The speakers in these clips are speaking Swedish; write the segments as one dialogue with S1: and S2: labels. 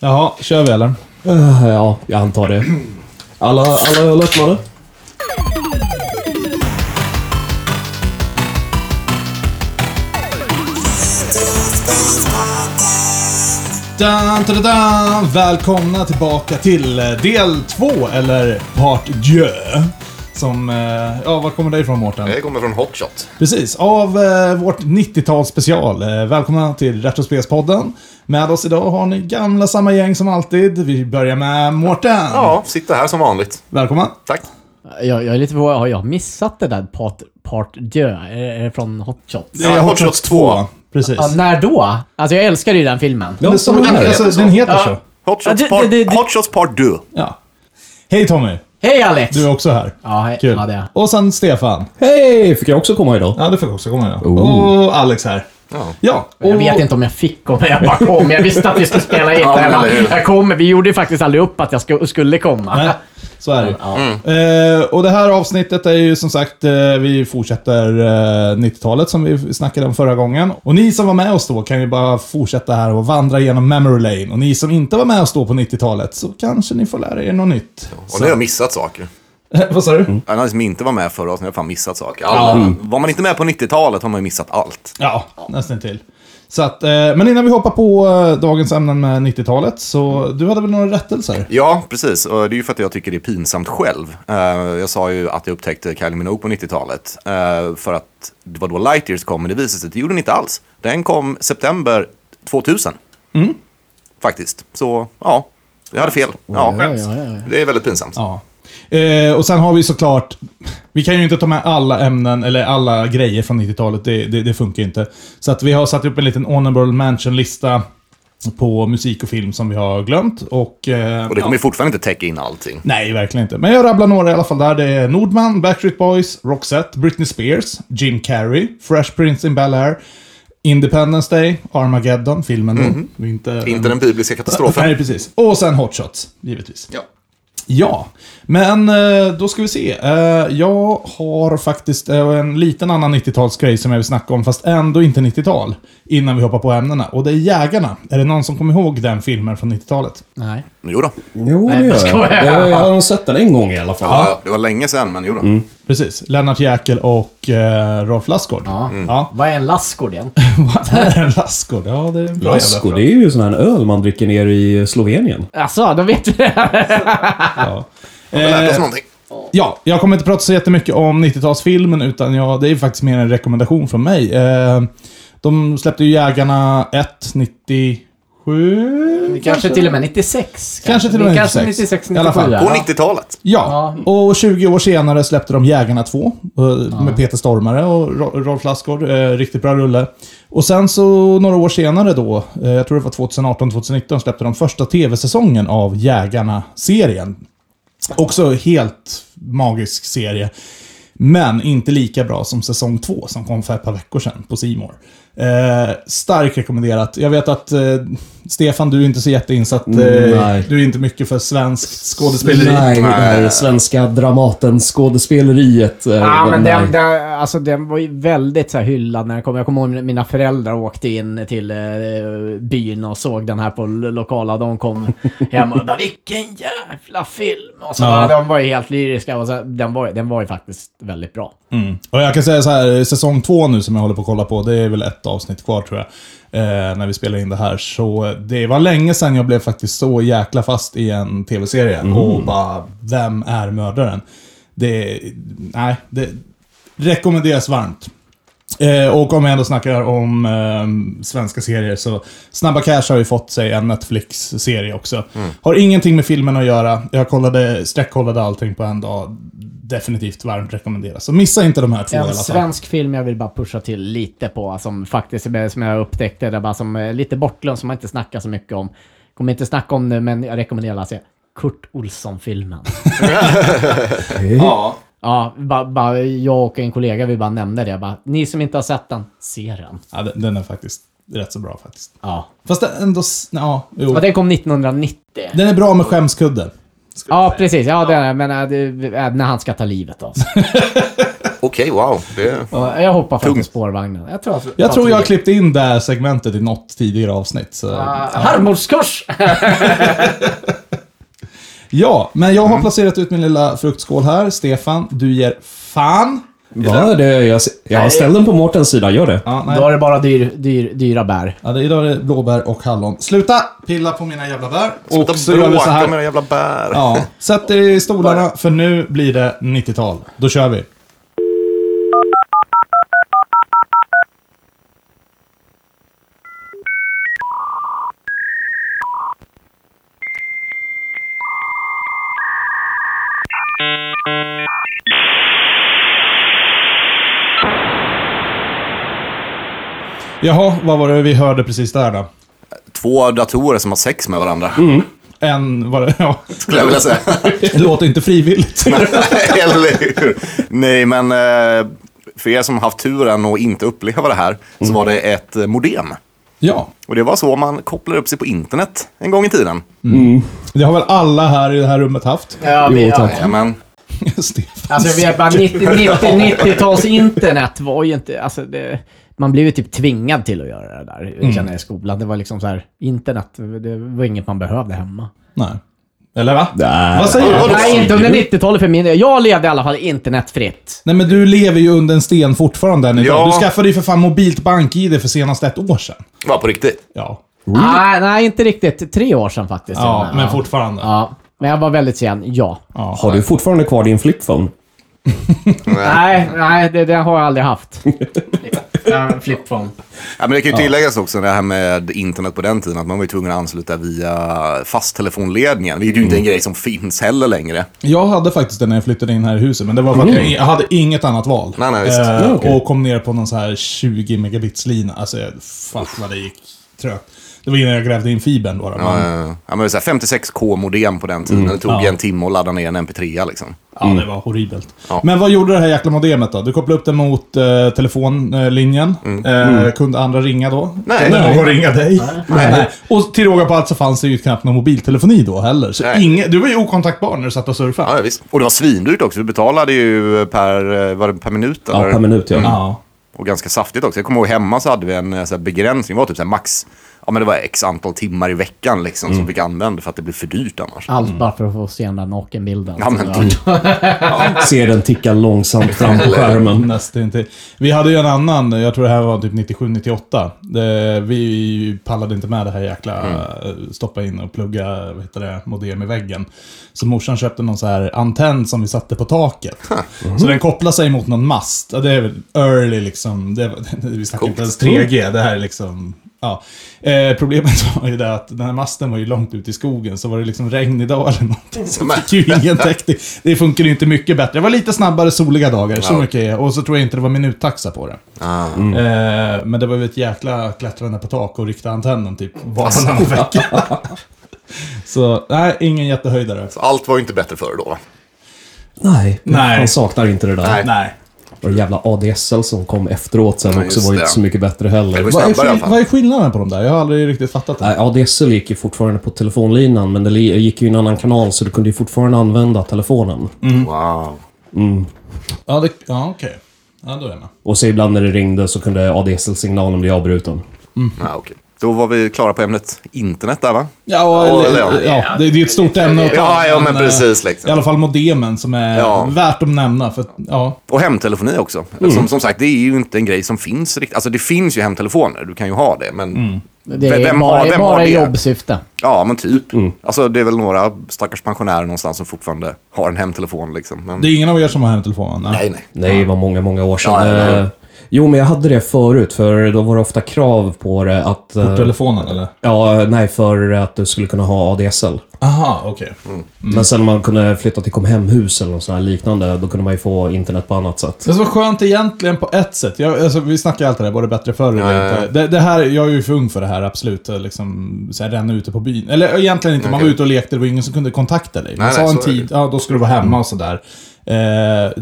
S1: Jaha, kör vi eller?
S2: Eh, ja, jag antar det. Alla, alla öl öppnade?
S1: Dun, dun, dun, dun. Välkomna tillbaka till eh, del två, eller part deux. Som, eh, ja, var kommer det ifrån Mårten?
S3: Jag kommer från Hotshot.
S1: Precis, av eh, vårt 90-talsspecial. Eh, välkomna till Retrospelspodden. Med oss idag har ni gamla samma gäng som alltid. Vi börjar med Mårten.
S3: Ja, Mm. sitter här som vanligt.
S1: Välkommen.
S3: Tack.
S4: Jag, jag är lite förvånad. Har jag missat det där part, part dö? Är, är det från Hot Shots?
S3: Ja,
S1: Eh,
S3: Hot
S1: Hot
S3: Shots
S1: Shots 2. Precis.
S4: Ja, när då? Alltså jag älskar ju den filmen.
S1: Men som, alltså, den heter så.
S3: Hotshots
S4: Ja, det-
S3: part,
S4: det- det-
S3: hot shots part 2.
S1: Ja. Hej Tommy,
S4: Hej Alex!
S1: du är också här.
S4: Ja, hej.
S1: Kul.
S4: Ja, det är jag.
S1: Och sen Stefan.
S2: Hej! Fick jag också komma idag?
S1: Ja, det får också komma ja.
S2: Oh.
S1: Och Alex här.
S3: Ja.
S1: Ja, och...
S4: Jag vet inte om jag fick komma, jag bara kom. Jag visste att vi skulle spela in
S3: Ja,
S4: det. Jag,
S3: eller hur?
S4: bara, jag kommer. Vi gjorde ju faktiskt aldrig upp att jag sku- skulle komma.
S1: Nej, så är det eh, Och det här avsnittet är ju som sagt, eh, vi fortsätter eh, 90-talet som vi snackade om förra gången. Och ni som var med oss då kan ju bara fortsätta här och vandra genom memory lane. Och ni som inte var med oss då på 90-talet så kanske ni får lära er något nytt.
S3: Och nu har jag missat saker.
S1: Vad sa du?
S3: Alla som inte var med förra året, jag har fan missat saker. Alla, Var man inte med på 90-talet har man ju missat allt.
S1: Ja, nästan till. Så att, eh, men innan vi hoppar på eh, dagens ämnen med 90-talet, så du hade väl några rättelser?
S3: Ja, precis. Och det är ju för att jag tycker det är pinsamt själv. Eh, jag sa ju att jag upptäckte Kylie Minogue på 90-talet. eh, för att det var då Light Years kom, men det visade sig att det gjorde den inte alls. Den kom september 2000. Mm. Faktiskt. Så, ja. Jag hade fel. Alltså. Ja,
S4: Oj, oj, oj, oj.
S3: det är väldigt pinsamt.
S1: Ja. Eh, och sen har vi såklart, vi kan ju inte ta med alla ämnen eller alla grejer från 90-talet, det, det, det funkar ju inte. Så att vi har satt upp en liten honorable mention-lista på musik och film som vi har glömt. Och, eh,
S3: Och det
S1: ja.
S3: kommer ju fortfarande inte täcka in allting.
S1: Nej, verkligen inte. Men jag rabblar några i alla fall där. Det är Nordman, Backstreet Boys, Roxette, Britney Spears, Jim Carrey, Fresh Prince in Bel-Air, Independence Day, Armageddon, filmen då. Inte,
S3: Mhm. Inte den bibliska katastrofen.
S1: Nej, precis. Och sen Hot Shots, givetvis.
S3: Ja.
S1: Ja, men eh, då ska vi se. Eh, Jag har faktiskt eh, en liten annan 90-talsgrej som jag vill snacka om, fast ändå inte 90-tal. Innan vi hoppar på ämnena. Och det är Jägarna. Är det någon som kommer ihåg den filmen från 90-talet?
S4: Nej.
S3: Jo då.
S2: Jo, det
S4: Nej, jag
S2: gör jag.
S4: skojar.
S2: Jag, jag har nog sett den en gång i alla fall.
S3: Ja. Mm. ja, det var länge sedan, men jo då.
S1: Precis. Lennart Jäkel och eh, Rolf Lassgård.
S4: Ja.
S1: ja.
S4: Vad är en Lassgård igen?
S1: Vad är en Lassgård? Ja, det är en bra jävla
S2: Lasko,
S1: fråga.
S2: det är ju sån här öl man dricker ner i Slovenien.
S4: Alltså, då vet vi det.
S1: Ja.
S3: Det lät oss
S1: Eh,
S3: någonting.
S1: Ja, jag kommer inte prata så jättemycket om 90-talsfilmen, utan jag, det är faktiskt mer en rekommendation från mig. Eh, de släppte ju Jägarna 1, 97...
S4: Kanske till och med 96.
S1: Kanske till och med 96.
S4: Kanske 96,
S1: I alla fall.
S4: 97.
S3: På
S4: ja.
S3: 90-talet.
S1: Ja, och 20 år senare släppte de Jägarna 2 eh, med Peter Stormare och Ro- Rolf Lassgård. Eh, riktigt bra rulle. Och sen så några år senare då, eh, jag tror det var 2018-2019, släppte de första tv-säsongen av Jägarna-serien. Också helt magisk serie. Men inte lika bra som säsong två som kom för ett par veckor sedan på Simor. Eh, starkt rekommenderat. Jag vet att eh, Stefan, du är inte så jätteinsatt. Eh,
S2: Mm, nej.
S1: du är inte mycket för svensk skådespeleri.
S2: Nej, det här svenska Dramaten-skådespeleriet. eh,
S4: Ja, men
S2: nej.
S4: den, den, alltså, den var ju väldigt så här, hyllad när den kom. Jag kommer ihåg när mina föräldrar åkte in till eh, byn och såg den här på lo- lokala. De kom hem och bara “Vilken jävla film!” och så,
S1: Ja.
S4: De var ju helt lyriska. Och så, den, var, den var ju faktiskt väldigt bra.
S1: Mm. Och jag kan säga så här, säsong två nu som jag håller på att kolla på, det är väl ett avsnitt kvar tror jag. Eh, när vi spelar in det här. Så det var länge sedan jag blev faktiskt så jäkla fast i en tv-serie. Och bara, vem är mördaren? Det, nej, det rekommenderas varmt. Eh, och om jag ändå snackar om eh, svenska serier så Snabba Cash har ju fått sig en Netflix-serie också. Har ingenting med filmen att göra. Jag kollade, streckkollade allting på en dag. Definitivt varmt rekommenderas. Så missa inte de här två i alla
S4: En
S1: fall.
S4: svensk film jag vill bara pusha till lite på, alltså, som faktiskt som jag upptäckte, det bara som eh, lite bortglömd, som man inte snackar så mycket om. Kommer inte snacka om det, men jag rekommenderar att se Kurt Olsson-filmen.
S3: Ja.
S4: Ja, bara, bara, jag och en kollega, vi bara nämnde det. Bara, ni som inte har sett den, se den.
S1: Ja, den, den är faktiskt rätt så bra faktiskt.
S4: Ja.
S1: Fast det ändå... s- Ja, jo.
S4: Och den kom 1990.
S1: Den är bra med skämskudden.
S4: Ja, precis. Ja, den, men äh, det, äh, när han ska ta livet av sig.
S3: Okej, wow. Det...
S4: Och jag hoppar faktiskt spårvagnen. Jag tror, att,
S1: Jag tror jag klippte in det här segmentet i något tidigare avsnitt. Så.
S4: Ah, Harmodskors!
S1: Ja, men jag har placerat ut min lilla fruktskål här. Stefan, du ger fan.
S2: Va? Det, jag, jag ställ den på Mårtens sida, gör det.
S1: Ja,
S4: Då är det bara dyr, dyr, dyra bär.
S1: Ja, det, idag är det blåbär och hallon. Sluta pilla på mina jävla bär.
S3: Och så gör vi så här. med jävla bär.
S1: Ja, sätt er i stolarna för nu blir det 90-tal. Då kör vi. Jaha, vad var det vi hörde precis där då?
S3: Två datorer som har sex med varandra,
S1: En var det, ja.
S3: skulle jag vilja säga.
S1: Det låter inte frivilligt.
S3: Eller hur? Nej, men eh, för er som haft turen att inte uppleva det här, så var det ett eh, modem.
S1: Ja,
S3: Och det var så man kopplade upp sig på internet en gång i tiden.
S1: det har väl alla här i det här rummet haft?
S4: Ja,
S2: Jo, tack.
S3: Jajamän.
S1: Stefan.
S4: Alltså vi är bara 90, 90, 90-tals internet var ju inte... Alltså, det, man blev ju typ tvingad till att göra det där,
S1: Mm.
S4: känner jag i skolan. Det var liksom så här, internet, det var inget man behövde hemma.
S1: Nej. Eller va?
S2: Nej.
S1: Vad säger du?
S4: Nej, inte under 90-talet för min del. Jag levde i alla fall internetfritt.
S1: Nej men du lever ju under en sten fortfarande än idag.
S3: Ja.
S1: Du skaffade ju för fan mobilt bank-id för senast ett år sedan.
S3: Var på riktigt.
S1: Ja.
S4: Nej, nej, inte riktigt. Tre år sedan faktiskt.
S1: Ja, men fortfarande.
S4: Ja. Men jag var väldigt sen, ja.
S2: Har du fortfarande kvar din flipphone?
S4: Nej, nej det, det har jag aldrig haft. Flipphone.
S3: Ja, men det kan ju tilläggas också det här med internet på den tiden, att man var ju tvungen att ansluta via fasttelefonledningen. Det är ju inte en grej som finns heller längre.
S1: Jag hade faktiskt det när jag flyttade in här i huset, men det var för att jag, jag hade inget annat val.
S3: Mm. Nej, nej, visst.
S1: Eh,
S2: okej.
S1: Och kom ner på någon så här 20 megabitslina. Alltså, jag fattar vad det gick trögt. Det var innan jag grävde in fibern då. då.
S3: Ja, Mm.
S1: men-
S3: Eh, ja, ja, men så här 56k-modem på den tiden. Det tog
S1: Ja.
S3: en timme att ladda ner en mp3 liksom.
S1: Ja, det var horribelt.
S3: Ja.
S1: Men vad gjorde det här jäkla modemet då? Du kopplade upp det mot eh, telefonlinjen. Eh, Kunde andra ringa då?
S3: Mm. Nej.
S1: Kunde någon ringa dig?
S3: Nej.
S1: Och till råga på allt så fanns det ju knappt någon mobiltelefoni då heller. Så
S3: Nej.
S1: ingen, du var ju okontaktbar när du satt och surfade.
S3: Ja, ja, visst. Och det var svindyrt också. Du betalade ju per, eh, var det per minut.
S2: Ja,
S3: eller?
S2: per minut ja.
S1: Ja.
S3: Och ganska saftigt också. Jag kommer ihåg hemma så hade vi en eh, så här, begränsning. Det var typ så här, max ja, men det var x antal timmar i veckan liksom, som fick använda för att det blev för dyrt annars.
S4: Allt bara för att få se den där nakenbilden.
S3: Ja, men typ.
S2: Ser den ticka långsamt fram på skärmen.
S1: Nästintill. Vi hade ju en annan, jag tror det här var typ 97-98. Det- Vi pallade inte med det här jäkla eh, stoppa in och plugga vad heter det, modem i väggen. Så morsan köpte någon så här antenn som vi satte på taket. Så den kopplade sig mot någon mast. Ja, Det är väl early liksom. Det, var- vi snackar inte ens 3G. Det här är liksom... Ja. Eh, problemet var ju det att den här masten var ju långt ute i skogen, så var det liksom regniga dagar eller någonting. Så
S3: Men-
S1: fick ju ingen täckning. Det funkar ju inte mycket bättre. Det var lite snabbare soliga dagar, så
S3: Ja.
S1: mycket är Och så tror jag inte det var minuttaxa på det.
S3: Ah.
S1: Eh, men det var ju ett jäkla klättrande på tak och rikta antennen typ
S3: Alltså.
S1: varannan vecka. så nej, ingen jättehöjdare.
S3: Så Allt var ju inte bättre förr då. va?
S2: Nej,
S1: Nej.
S2: man saknar inte det där.
S3: Nej.
S1: Nej.
S2: Och det jävla ADSL som kom efteråt sen
S3: Ja,
S2: också
S3: just
S2: var ju
S3: det.
S2: inte så mycket bättre heller.
S3: Det var ju
S1: Vad är,
S3: snabbare i alla
S1: skill-
S3: fall.
S1: vad är skillnaden på de där? Jag har aldrig riktigt fattat det.
S2: Nej, ADSL gick ju fortfarande på telefonlinan, men det li- gick ju i en annan kanal så du kunde ju fortfarande använda telefonen.
S3: Mm. Wow.
S1: Ja, det, ja okej. Ja, då är jag med.
S2: Och så ibland när det ringde så kunde ADSL-signalen bli avbruten.
S3: Ja, okej. Då var vi klara på ämnet internet där va?
S1: Ja,
S3: Ja,
S1: eller,
S3: eller
S1: ja. det, det är ju ett stort ämne att ta.
S3: Ja, ja, men
S1: eh,
S3: precis, liksom.
S1: I alla fall modemen som är
S3: Ja.
S1: värt att nämna. För, att- ja.
S3: Och hemtelefoni också. Alltså,
S1: Mm.
S3: Som, som sagt, det är ju inte en grej som finns riktigt. Alltså det finns ju hemtelefoner, du kan ju ha det. Men
S1: Mm.
S4: Det är bara, bara i jobbsyfte.
S3: Ja, men typ.
S1: Mm.
S3: Alltså det är väl några stackars pensionärer någonstans som fortfarande har en hemtelefon liksom. Men...
S1: Det är ingen av er som har hemtelefonen? Nej.
S3: Nej, nej.
S2: Nej, det var många, många år sedan.
S3: Ja, ja, ja.
S2: Eh, Jo, men jag hade det förut, för då var det ofta krav på det att... eh,
S1: Telefonen eller?
S2: Ja, nej, för att du skulle kunna ha ADSL.
S1: Aha, okej.
S3: Mm.
S2: Men sen när man kunde flytta till komhemhus eller något sånt här liknande, då kunde man ju få internet på annat sätt.
S1: Det var skönt egentligen på ett sätt. Jag, alltså, vi snackar ju alltid det här, var det bättre förr eller
S3: Ja, ja, ja.
S1: inte? Det, det här, jag är ju för ung för det här, absolut. Eh, Liksom, så här, ränna ute på byn. Eller egentligen inte, man var ute och lekte, det var ingen som kunde kontakta dig. Man
S3: Nej,
S1: sa
S3: nej,
S1: en
S3: så är det
S1: tid, ja då skulle du vara hemma och sådär. Eh,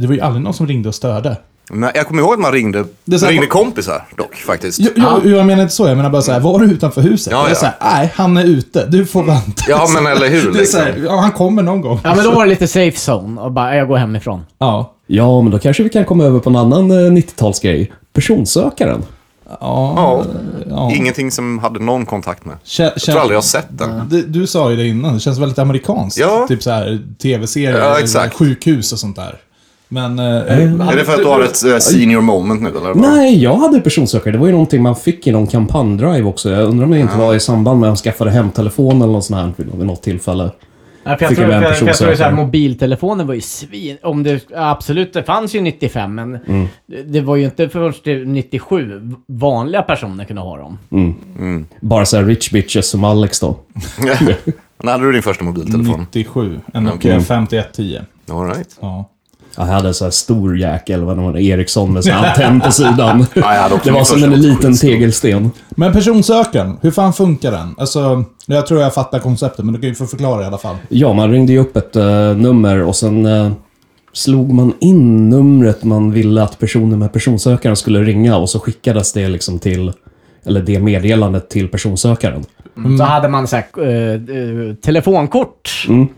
S1: det var ju aldrig någon som ringde och störde.
S3: Men jag kommer ihåg att man ringde,
S1: Det är så här-
S3: ringde kompisar dock faktiskt.
S1: Jo, jo, Jag menar inte så, jag menar bara såhär, var du utanför huset?
S3: Ja,
S1: Jag är
S3: ja.
S1: såhär, nej, han är ute, du får vänta.
S3: Ja, men eller hur, liksom.
S1: Det är såhär, ja, han kommer någon gång.
S4: Ja, men då var det lite safe zone och bara, jag går hemifrån.
S1: Ja.
S2: Ja, men då kanske vi kan komma över på en annan eh, 90-talsgrej. Personsökaren.
S1: Ja. ja.
S3: Ingenting som hade någon kontakt med.
S1: Kä-
S3: Jag tror
S1: kän-
S3: aldrig jag har sett den.
S1: Du, du sa ju det innan, det känns väldigt amerikanskt.
S3: Ja.
S1: Typ så här tv-serier,
S3: Ja,
S1: eller
S3: exakt.
S1: sjukhus och sånt där. Men... Eh,
S3: Är det för att du har ett eh, senior moment nu eller?
S2: Nej, jag hade personsökare. Det var ju någonting man fick i någon kampanjdrive också. Jag undrar om det inte var i samband med att jag skaffade hemtelefon eller något sånt här vid något tillfälle.
S4: Nej, för jag
S2: Fick
S4: tror,
S2: jag en
S4: för, för jag tror så här,
S2: personsökare.
S4: mobiltelefonen var ju svin... Om det, ja, absolut, det fanns ju 95, men det, det var ju inte först till 97 vanliga personer kunde ha dem.
S2: Bara så här rich bitches som Alex då.
S3: När hade du din första
S1: Mm.
S3: mobiltelefon?
S1: 97, en Nokia
S2: Okej.
S1: 5110.
S3: All right.
S1: Ja.
S2: Jag hade en så här stor jäkel, vad det var, en Ericsson med sån här antenn på sidan.
S3: Ja, jag hade också
S2: Det var
S3: min
S2: som
S3: första.
S2: en liten tegelsten.
S1: Men personsökaren, hur fan funkar den? Alltså, jag tror jag fattar konceptet, men du kan ju få förklara i alla fall.
S2: Ja, man ringde ju upp ett eh, nummer och sen eh, slog man in numret man ville att personen med personsökaren skulle ringa och så skickades det liksom till, eller det meddelandet till personsökaren.
S4: Så hade man så här, eh, eh, telefonkort
S2: Mm.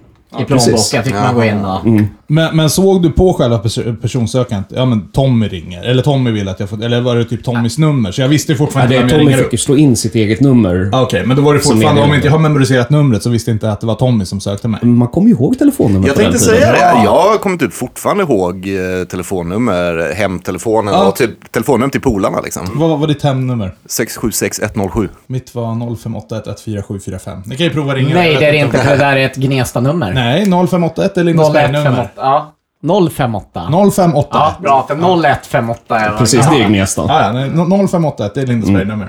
S4: i
S2: precis.
S4: plånboken, fick man gå in och...
S2: Mm.
S1: Men, men såg du på själva pers- personsökandet? Ja, men Tommy ringer. Eller Tommy vill att jag får... Eller var det typ Tommys nummer? Så jag visste ju
S2: Ja,
S1: fortfarande
S2: det,
S1: vem jag
S2: Tommy
S1: ringer
S2: fick
S1: upp.
S2: ju slå in sitt eget nummer.
S1: Ah, Okej, men då var det
S2: Som
S1: fortfarande...
S2: meningen.
S1: Om inte jag har memoriserat numret så visste jag inte att det var Tommy som sökte mig.
S2: Man kommer ju ihåg telefonnumret
S3: Jag
S2: på den
S3: tänkte
S2: tiden.
S3: säga det. Jag kommer typ fortfarande ihåg eh, telefonnummer, hemtelefonen
S1: Ja.
S3: och typ telefonnummer till polarna liksom.
S1: Vad var ditt hemnummer?
S3: 676107.
S1: Mitt var 0581144745. Ni kan ju prova ringa.
S4: Nej,
S1: Jag
S4: det är
S1: vet
S4: det inte, för det där är ett Gnesta-nummer.
S1: Nej, 0581 är Lindesbergs nummer.
S4: 0158. Ja. 058.
S1: 058.
S4: Ja, bra. För 0158 är vad-
S2: Precis, det är Gnesta.
S1: Ah, ja, nej, no- 0581 det är
S3: Mm.
S1: Lindesbergs nummer.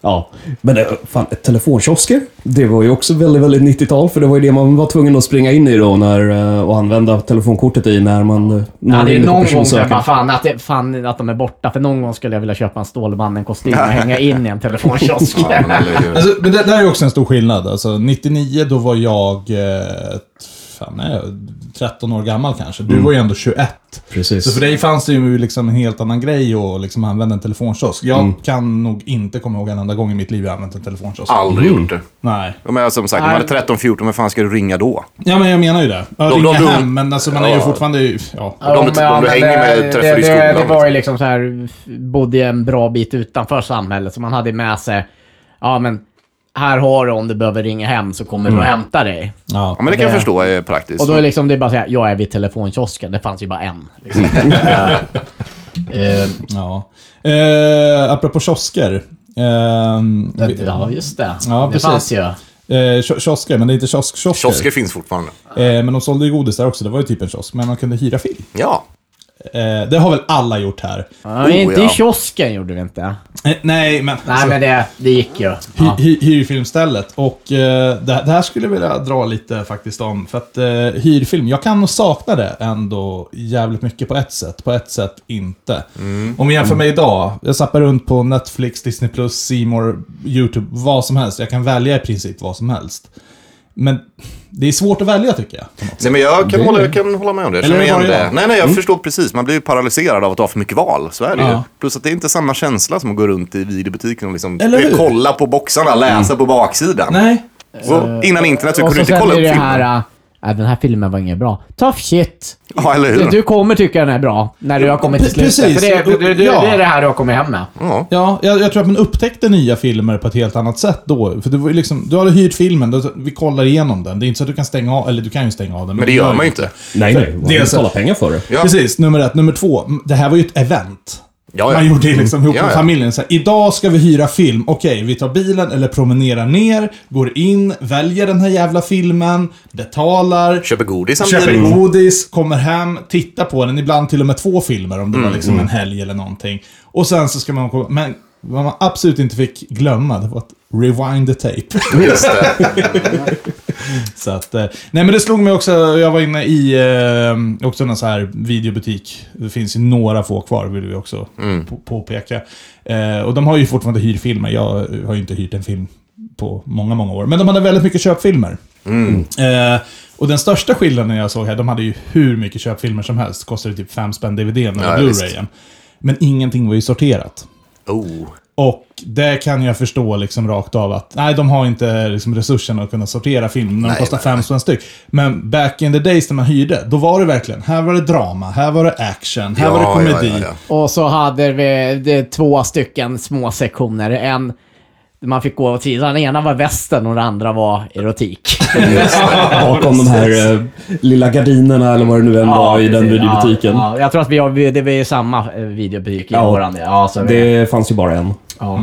S2: Ja. Men det, fan, telefonkiosker, det var ju också väldigt, väldigt 90-tal. För det var ju det man var tvungen att springa in i då när, eh, och använda telefonkortet i när man... eh, När
S4: Ja,
S2: man
S4: det är
S2: ringde på
S4: någon gång
S2: personsökaren.
S4: jag bara, fan att, det, fan att de är borta. För någon gång skulle jag vilja köpa en Stålmannen-kostym och hänga in i en telefonkiosk.
S3: Ja, men eller hur?
S1: Alltså, men det där är också en stor skillnad. Alltså, 99, då var jag... Eh, fan, är jag 13 år gammal kanske. Du
S3: Mm.
S1: var ju ändå 21.
S2: Precis.
S1: Så för dig fanns det ju liksom en helt annan grej att liksom använda en telefonkiosk. Jag
S3: Mm.
S1: kan nog inte komma ihåg en enda gång i mitt liv jag använt en telefonkiosk.
S3: Aldrig gjort det.
S1: Nej.
S3: Ja, Men som sagt, när man är 13, 14, vad fan ska du ringa då?
S1: Ja, men jag menar ju det. Jag
S3: Då-
S1: ringer
S3: då- då-
S1: hem, men alltså, man är ju
S3: Ja.
S1: fortfarande... Ja.
S3: Om du- om du hänger med
S4: det,
S3: träffar i
S4: det,
S3: skolan.
S4: det var ju liksom så här, bodde ju en bra bit utanför samhället, så man hade med sig, ja men, här har du om du behöver ringa hem så kommer
S3: Mm.
S4: du och hämtar dig.
S1: Ja.
S3: Ja, men det kan jag
S4: Det-
S3: förstå är praktiskt.
S4: Och då är liksom, det är bara att säga, jag är vid telefonkiosken. Det fanns ju bara en. Liksom.
S3: Mm.
S4: Eh,
S1: ja. Eh, apropå kiosker. Ehm, vi-
S4: ja, just det.
S1: Ja,
S4: det
S1: precis.
S4: fanns ju.
S3: Oh,
S1: eh, ki- kiosker, men det är inte kiosk-kiosker.
S3: Kiosker finns fortfarande.
S1: Eh, men de sålde ju godis där också. Det var ju typ en kiosk. Men man kunde hyra film.
S3: Ja.
S1: Eh, det har väl alla gjort här?
S4: Ja, men
S3: Oh,
S4: inte
S3: ja. Alltså-
S4: i kiosken gjorde vi inte.
S1: Eh, nej, men...
S4: Nej, men det, det gick ju. Ja.
S1: hy- hy- hyrfilmstället. Och eh, det, det här skulle jag vilja dra lite faktiskt om. För att eh, hyrfilm, jag kan nog sakna det ändå jävligt mycket på ett sätt. På ett sätt inte.
S3: Mm.
S1: Om vi jämför med idag. Jag zappar runt på Netflix, Disney+, C More, YouTube, vad som helst. Jag kan välja i princip vad som helst. Men det är svårt att välja tycker jag. på något
S3: Nej, men jag kan,
S2: Det-
S3: hålla, jag kan hålla med om det. Jag känner
S1: Eller
S3: igen
S1: var det
S3: det.
S1: jag?
S3: Nej, nej, jag förstår precis. Man blir ju paralyserad av att ha för mycket val. Så är det ju.
S1: Ja.
S3: Plus att det är inte samma känsla som att gå runt i videobutiken och liksom
S1: Eller hur?
S3: kolla på boxarna, läsa på baksidan.
S1: Nej.
S3: Och innan internet så
S4: Och
S3: kunde du
S4: så
S3: inte kolla
S4: sen
S3: upp
S4: är det
S3: filmen.
S4: här... Äh, den här filmen var ingen bra. Tough shit.
S3: Ja, eller hur?
S4: Du kommer tycka den är bra när du har kommit till
S1: Precis.
S4: slutet. För det, det, det,
S1: Ja.
S4: det är det här du har kommit hem med.
S3: Ja.
S1: Ja, jag, jag tror att man upptäckte nya filmer på ett helt annat sätt då. För det var ju liksom, du hade hyrt filmen, då, vi kollar igenom den. Det är inte så att du kan stänga av, eller du kan ju stänga av den.
S3: Men det
S1: du
S3: gör man ju inte.
S2: Nej, nej. Man
S1: Det är så-
S2: betalar pengar för det.
S3: Ja.
S1: Precis, nummer ett. Nummer två, m- det här var ju ett event.
S3: Ja, ja.
S1: Man gjorde ju liksom ihop
S3: Ja,
S1: med
S3: ja.
S1: familjen. Så här, idag ska vi hyra film. Okej, vi tar bilen eller promenerar ner, går in, väljer den här jävla filmen, betalar.
S3: Köper godis samtidigt.
S1: Köper godis, kommer hem, tittar på den, ibland till och med två filmer om det
S3: Mm,
S1: var liksom en helg eller någonting. Och sen så ska man komma... Men vad man absolut inte fick glömma, det var att rewind the tape.
S3: Just det.
S1: så att, eh, nej men det slog mig också, jag var inne i eh, också någon så här videobutik. Det finns ju några få kvar, vill vi också på, påpeka. Eh, och de har ju fortfarande hyrfilmer, jag har ju inte hyrt en film på många, många år. Men de hade väldigt mycket köpfilmer. Eh, och den största skillnaden jag såg här, de hade ju hur mycket köpfilmer som helst. Kostade typ fem spänn DVDn eller
S3: Ja,
S1: Blu-rayen. Men ingenting var ju sorterat.
S3: Oh.
S1: Och det kan jag förstå liksom rakt av att nej, de har inte liksom resurserna att kunna sortera film när de
S3: Nej,
S1: kostar
S3: nej,
S1: fem spänn styck. Men back in the days när man hyrde, då var det verkligen, här var det drama, här var det action, här var det komedi.
S4: Och så hade vi det, två stycken små sektioner. En man fick gå åt sidan. Den ena var västern och den andra var erotik.
S2: Bakom de här eh, lilla gardinerna eller vad det nu än var i den
S4: precis.
S2: videobutiken.
S4: Ja, ja, jag tror att vi har vi- det är samma eh, videobutik i
S2: Ja.
S4: våran. Ja, så vi,
S2: Det mm. fanns ju bara en.
S4: ja.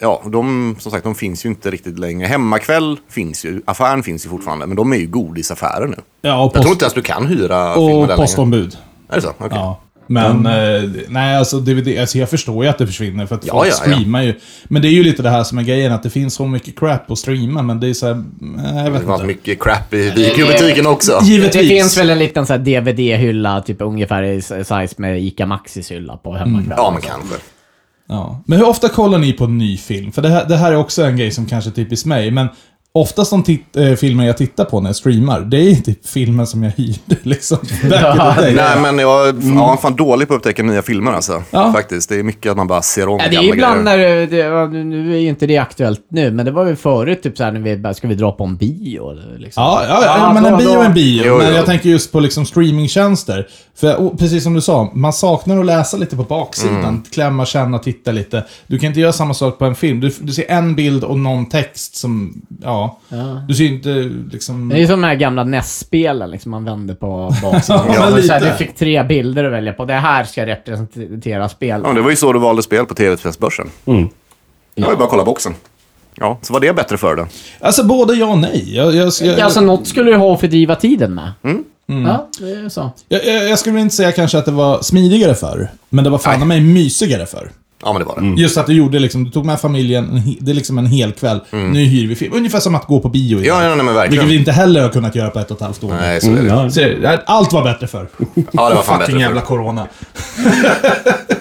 S3: Ja, och de, som sagt, de finns ju inte riktigt längre. Hemmakväll finns ju, affären finns ju fortfarande, men de är ju godisaffärer nu.
S1: Ja, och,
S3: Jag tror
S1: post,
S3: inte ens du kan hyra filmer
S1: och
S3: där
S1: postombud.
S3: längre. Är det så? Okej.
S1: Ja. Men eh, nej, alltså, DVD, alltså jag förstår ju att det försvinner för att
S3: Ja,
S1: folk
S3: ja, ja.
S1: streamar ju. Men det är ju lite det här som är grejen, att det finns så mycket crap att streama, men det är så här, nej, jag vet
S3: Det fanns
S1: inte.
S3: mycket crap i videobutiken också.
S4: Det
S1: Givetvis.
S4: finns väl en liten så här DVD-hylla, typ ungefär i s- size med ICA Maxis hylla på hemmakväll.
S3: Ja, men kanske.
S1: Ja. Men hur ofta kollar ni på en ny film? För det här, det här är också en grej som kanske är typiskt mig, men oftast de tit- eh, filmer jag tittar på när jag streamar, det är typ filmen som jag hyrde liksom. Back in the day.
S3: Nej, men jag ja, fan dålig på att upptäcka nya filmer alltså.
S1: Mm. Ja.
S3: Faktiskt. Det är mycket att man bara ser om
S4: Ja, det är ju
S3: gamla
S4: ibland
S3: grejer.
S4: när du- det, ja, nu- nu är ju inte det aktuellt nu, men det var ju förut typ så här när vi bara, ska vi dra på en bio? eller Liksom.
S1: Ja, ja, ja,
S4: Ja,
S1: men
S4: då-
S1: en bio är en
S4: då-
S1: bio.
S3: Jo,
S1: men
S3: jo.
S1: jag tänker just på liksom streamingtjänster. För och, precis som du sa, man saknar att läsa lite på baksidan.
S3: Mm.
S1: Klämma, känna, titta lite. Du kan inte göra samma sak på en film. Du, du ser en bild och någon text som, ja. Du ser ju inte liksom...
S4: Det är ju som de här gamla NES-spelen, liksom, man vände på baksidan.
S1: Ja,
S4: Och så
S1: lite.
S4: här, du fick tre bilder att välja på. Det här ska representera spelet.
S3: Ja, det var ju så du valde spel på tv-spelsbörsen.
S2: Mm.
S3: Det var ju bara att kolla boxen. Ja, så var det bättre för dig.
S1: Alltså både ja och nej. Jag, jag, jag,
S4: Alltså något skulle du ha för att driva tiden med.
S1: Mm.
S4: Mm. Ja, det är ju så.
S1: jag, jag, jag skulle inte säga kanske att det var smidigare förr. Men det var fan i mig mysigare förr.
S3: Ja, men det var det.
S1: Just att du gjorde liksom, du tog med familjen, en he- det är liksom en hel kväll. Nu hyr vi film. Ungefär som att gå på bio igen.
S3: Mm. Ja, ja, nej, men verkligen.
S1: Vilket vi inte heller har kunnat göra på ett och ett halvt år.
S3: Nej, så är
S2: Mm,
S3: det.
S2: ja.
S1: Så, eh, allt var bättre förr.
S3: Ja, det var fan bättre
S1: Fucking jävla
S3: förr.
S1: corona.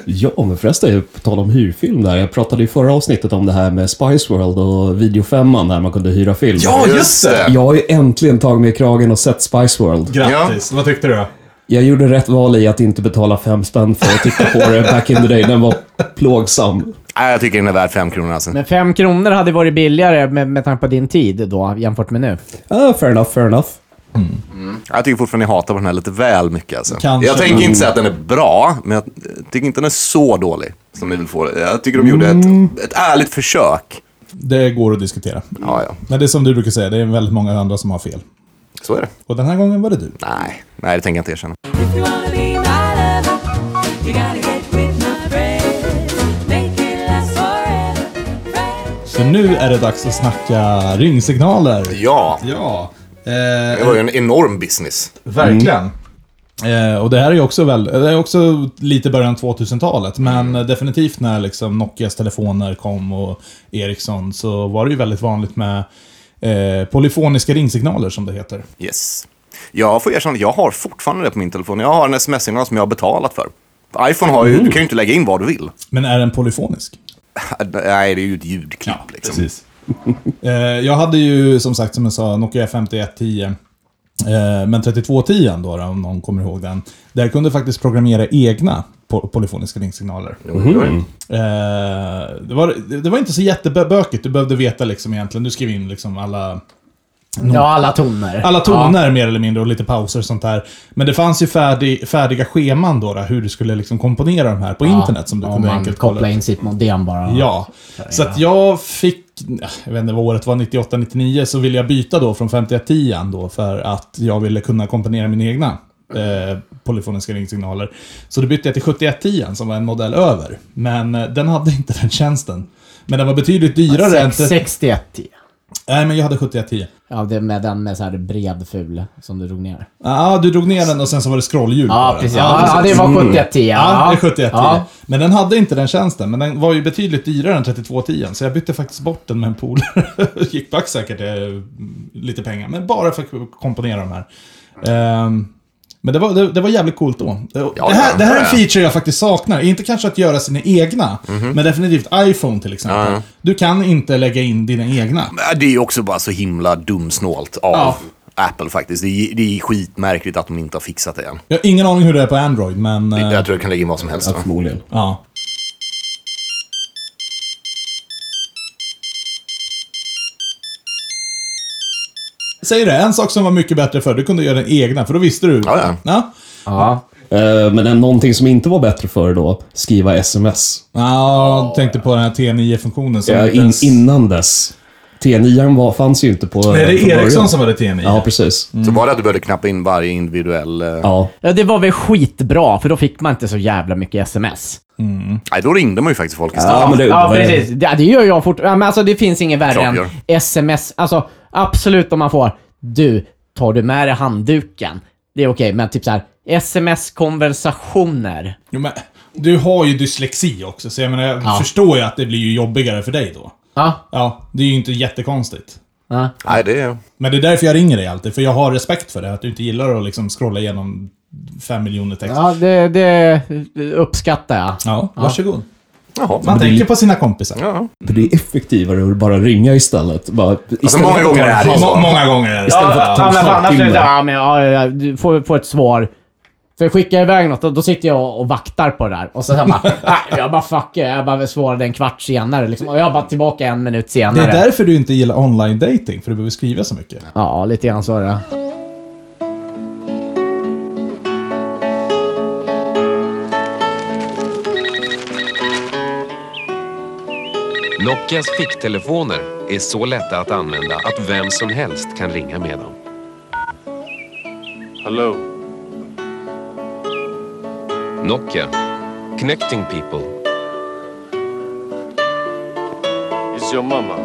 S2: Ja, men förresten, på tal om hyrfilm där. Jag pratade i förra avsnittet om det här med Spice World och videofemman där man kunde hyra film.
S1: Ja,
S3: Just
S1: just det!
S3: det.
S2: Jag har ju äntligen tagit mig i kragen och sett Spice World.
S1: Grattis. Vad tyckte du då?
S2: Jag gjorde rätt val i att inte betala fem spänn för att titta på det back in the day. Den var plågsam.
S3: Nej, jag tycker den är värd fem kronor alltså.
S4: Men fem kronor hade varit billigare med, med tanke på din tid då, jämfört med nu.
S2: Ah, fair enough, fair enough.
S3: Jag tycker fortfarande jag hatar på den här lite väl mycket alltså.
S1: Kanske.
S3: Jag tänker inte säga att den är bra, men jag tycker inte den är så dålig som ni vill få det. Jag tycker de gjorde ett, ett ärligt försök.
S1: Det går att diskutera.
S3: Ja, ja.
S1: Men det är som du brukar säga, det är väldigt många andra som har fel.
S3: Så är det.
S1: Och den här gången var det du.
S3: Nej, nej det tänker jag inte erkänna.
S5: If you wanna be my lover, you gotta get with my friends. Make it last forever. Friends.
S1: Så nu är det dags att snacka ringsignaler.
S3: Ja,
S1: Ja.
S3: det
S1: Eh,
S3: var ju en enorm business.
S1: verkligen. Eh, och det här är ju också, väl, det är också lite början 2000-talet, men definitivt när liksom Nokias telefoner kom och Ericsson så var det ju väldigt vanligt med eh, polyfoniska ringsignaler som det heter.
S3: Yes. Jag får erkänna att jag har fortfarande det på min telefon. Jag har en sms-signal som jag har betalat för. iPhone har ju, du kan ju inte lägga in vad du vill.
S1: Men är den polyfonisk?
S3: Nej, det är ju ett ljudklipp liksom.
S1: Precis. eh, jag hade ju som sagt, som jag sa, Nokia 5110. Eh, men 3210 då, då, om någon kommer ihåg den. Där kunde jag faktiskt programmera egna po- polyfoniska ringsignaler. Eh, det, var, det var inte så jättebökigt. Du behövde veta liksom egentligen. Du skrev in liksom alla
S4: Ja, alla toner.
S1: Mm. alla toner mer eller mindre och lite pauser och sånt där. Men det fanns ju färdig, färdiga scheman då, då hur du skulle liksom komponera de här på internet som du
S4: Om
S1: kunde
S4: man
S1: enkelt kolla.
S4: kopplar in sitt modem bara.
S1: Ja, så att jag fick, jag vet inte vad året var, 98-99, så ville jag byta då från 5110 då för att jag ville kunna komponera mina egna eh, polyfoniska ringsignaler. Så då bytte jag till 7110 som var en modell över, men eh, den hade inte den tjänsten. Men den var betydligt dyrare än...
S4: Sex- 61.
S1: Nej, men jag hade 7110.
S4: Ja, det är med den med så här bred ful som du drog ner.
S1: Ja, ah, du drog ner den och sen så var det scrollhjul på
S4: Ja,
S1: den.
S4: precis. Ja, ja, det
S2: Mm.
S4: var 71 10.
S1: Ja, det är 71 Men den hade inte den tjänsten, men den var ju betydligt dyrare än 3210 så jag bytte faktiskt bort den med en polare. Gick back säkert eh, lite pengar, men bara för att komponera de här. Ehm, men det var, det, det var jävligt coolt då. Det,
S3: Ja,
S1: det, här, det Mhm. här är en
S3: ja.
S1: feature jag faktiskt saknar. Inte kanske att göra sina egna, men definitivt iPhone till exempel. Du kan inte lägga in dina egna.
S3: Men Det är ju också bara så himla dumsnålt av
S1: Ja.
S3: Apple faktiskt. Det är, det är skitmärkligt att de inte har fixat det än.
S1: Jag har ingen aning hur det är på Android, men... eh,
S2: Mm.
S3: Jag tror jag kan lägga in vad som helst.
S2: Ja,
S3: va?
S2: förmodligen.
S1: Ja. Säg det, en sak som var mycket bättre för du kunde göra den egna, för då visste du.
S3: Ja, ja.
S1: Ja,
S2: Ja. Eh, Men en- någonting som inte var bättre för då, skriva sms.
S1: ja jag tänkte på den här T9-funktionen. som
S2: Ja,
S1: inte
S2: in,
S1: ens-
S2: innan dess. T9 var, fanns ju inte på...
S1: Nej, det
S2: från
S1: är
S2: början.
S1: Ericsson som Mm. hade T9.
S2: Ja, precis.
S3: Så var det att du behövde knappa in varje individuell... eh,
S2: Ja.
S4: Ja, det var väl skitbra, för då fick man inte så jävla mycket sms.
S3: Nej, då ringde man ju faktiskt folk istället.
S2: ja, men det,
S4: Ja,
S2: det-
S4: precis. Det, det gör jag fortfarande. Ja, men alltså det finns inget värre
S3: Klart
S4: än
S3: gör.
S4: sms. Alltså absolut om man får, du, tar du med dig handduken? Det är okej, men typ så här sms-konversationer.
S1: Jo, men, du har ju dyslexi också, så jag menar, jag
S4: Ja.
S1: förstår ju att det blir ju jobbigare för dig då.
S4: Ja,
S1: Ja, det är ju inte jättekonstigt.
S4: ja.
S3: Nej, det är...
S1: Men det är därför jag ringer dig alltid, för jag har respekt för det. Att du inte gillar att liksom scrolla igenom fem miljoner texter.
S4: ja det, det uppskattar jag.
S1: Ja, varsågod.
S3: Jaha.
S1: Man tänker på sina kompisar.
S3: Ja.
S2: För det är effektivare att bara ringa istället. Bara, istället
S3: många
S2: för att
S3: gånger
S2: bara-
S3: är det ju så.
S1: Må- många gånger är det.
S2: Istället för att ta en halvtimme.
S4: Ja, men ja, ja, du får, får ett svar. För skickar jag iväg något, då, då sitter jag och vaktar på det där. Och så, så här bara, nej, jag bara fuck it. Jag bara svarade en kvart senare liksom. Och jag bara tillbaka en minut
S1: Det
S4: senare.
S1: är därför du inte gillar online dating för du behöver skriva så mycket.
S4: Ja, lite grann så är det.
S6: Nokias ficktelefoner är så lätta att använda att vem som helst kan ringa med dem.
S7: Hello.
S6: Nokia. Connecting people.
S7: Is your mama?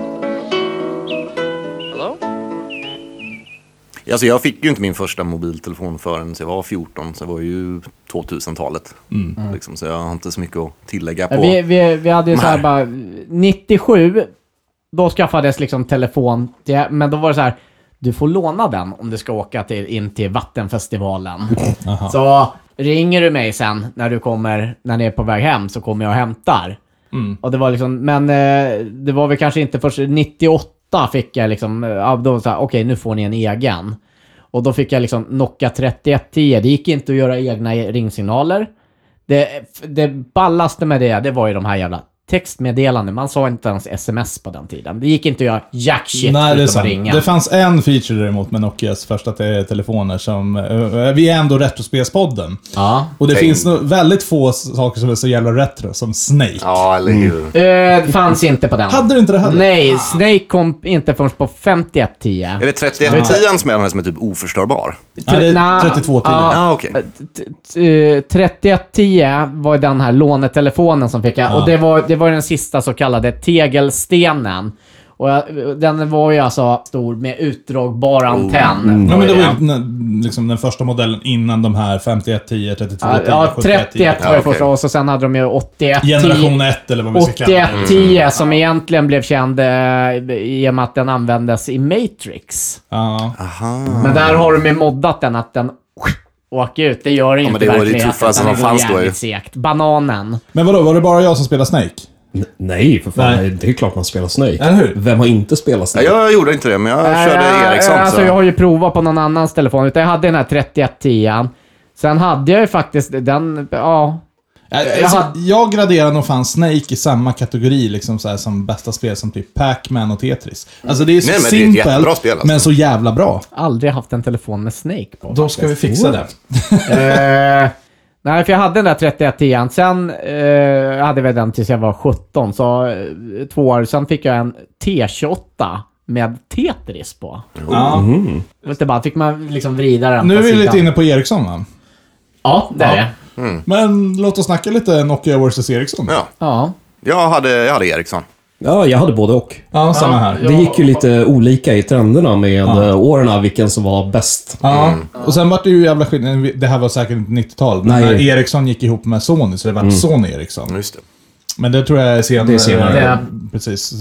S3: Alltså, jag fick ju inte min första mobiltelefon förrän jag var 14, så det var ju 2000-talet. Liksom, så jag har inte så mycket att tillägga på.
S4: Äh, Vi, vi, vi hade ju så här
S3: Nej.
S4: bara, 97, då skaffades liksom telefon, till, men då var det så här, du får låna den om du ska åka till, in till Vattenfestivalen. så ringer du mig sen när du kommer, när ni är på väg hem, så kommer jag och hämtar.
S1: Mm.
S4: Och det var liksom, men eh, det var väl kanske inte först 98 fick jag liksom, eh, ja, då var det så här, okej nu får ni en egen. Och då fick jag liksom Nokia 3110. Det gick inte att göra egna ringsignaler. Det, det ballaste med det, det var ju de här jävla textmeddelanden. Man sa inte ens sms på den tiden. Det gick inte att göra jack shit
S1: Nej, det är
S4: utom att
S1: sant.
S4: ringa.
S1: Det fanns en feature däremot med Nokias första te- telefoner som... eh, vi är ändå Retrospelspodden.
S4: ja.
S1: Och det
S3: Tänk.
S1: finns nog väldigt få saker som är så jävla retro, som Snake.
S3: Ja, eller hur.
S4: Eh, det fanns inte på den.
S1: Hade du inte det heller?
S4: Nej, Snake kom inte förrän på 5110.
S3: Är det 3110 som är den här som är typ oförstörbar?
S1: Nej, det är
S4: Nej.
S1: 32 till.
S4: Ja.
S3: Ah, okej.
S4: T- t- eh, 3110 var ju den här lånetelefonen som fick jag. Och det var, det var den sista så kallade tegelstenen. Och jag, den var ju alltså stor med utdragbar
S3: Oh.
S4: antenn.
S3: Mm.
S1: Ja, men det var ju den- liksom den första modellen innan de här 51, 10, 32, 10,
S4: Ja,
S1: 71, 10.
S4: 31 var
S3: Ja,
S4: det
S3: okej.
S4: första och så sen hade de ju 81
S1: Generation 1 eller vad man ska kalla det.
S3: Mm.
S4: 8110 som egentligen blev känd eh, i och med att den användes i Matrix.
S1: Ja.
S4: Men där har de ju moddat den att den åker ut. Det gör inte
S3: men det var det
S4: verkligheten,
S3: tuffaste
S4: utan
S3: som
S4: går
S3: fanns då ju.
S4: jävligt Segt. Bananen.
S1: Men vadå, var det bara jag som spelade Snake?
S2: Nej, för fan.
S1: Nej.
S2: Det är klart man spelar Snake.
S1: Eller hur?
S2: Vem har inte spelat
S3: Ja,
S2: Snake?
S3: jag gjorde inte det, men jag
S4: Nej,
S3: körde
S4: jag-
S3: Ericsson.
S4: Alltså,
S3: så.
S4: jag har ju provat på någon annans telefon. Utan jag hade den här 3110. Sen hade jag ju faktiskt den, ja.
S1: Jag,
S4: Jag
S1: alltså,
S4: hade-
S1: jag graderar nog fan Snake i samma kategori liksom så här, som bästa spel som typ Pac-Man och Tetris. Alltså det är så
S3: Nej, men det är ett
S1: simpelt,
S3: jättebra spel, alltså.
S1: men så jävla bra.
S4: Aldrig haft en telefon med Snake på.
S1: Då ska vi fixa det.
S4: Eh, nej, för jag hade den där 3110 Sen eh, hade jag den tills jag var 17. Så eh, två år. Sen fick jag en T28 med Tetris på.
S1: Ja.
S3: Mm.
S4: Vet du bara, fick man liksom vrida den
S1: Nu
S4: på
S1: är vi
S4: sidan.
S1: lite inne på Ericsson va?
S4: Ja, det är
S1: Ja.
S4: det.
S1: Men låt oss snacka lite Nokia vs Ericsson.
S3: Ja.
S4: Ja.
S3: Jag hade, jag hade Ericsson.
S2: Ja, jag hade både och.
S1: Ja, samma här.
S2: Det gick ju lite olika i trenderna med ja. åren, vilken som var bäst.
S1: Ja,
S3: Mm.
S1: och sen vart det ju jävla skillnad. Det här var säkert inte 90-tal. men
S2: Nej.
S1: När Ericsson gick ihop med Sony, så det var Sony Ericsson.
S3: Just det.
S1: Men Mm. det tror jag är senare.
S2: Det är senare.
S4: Ja.
S1: Precis,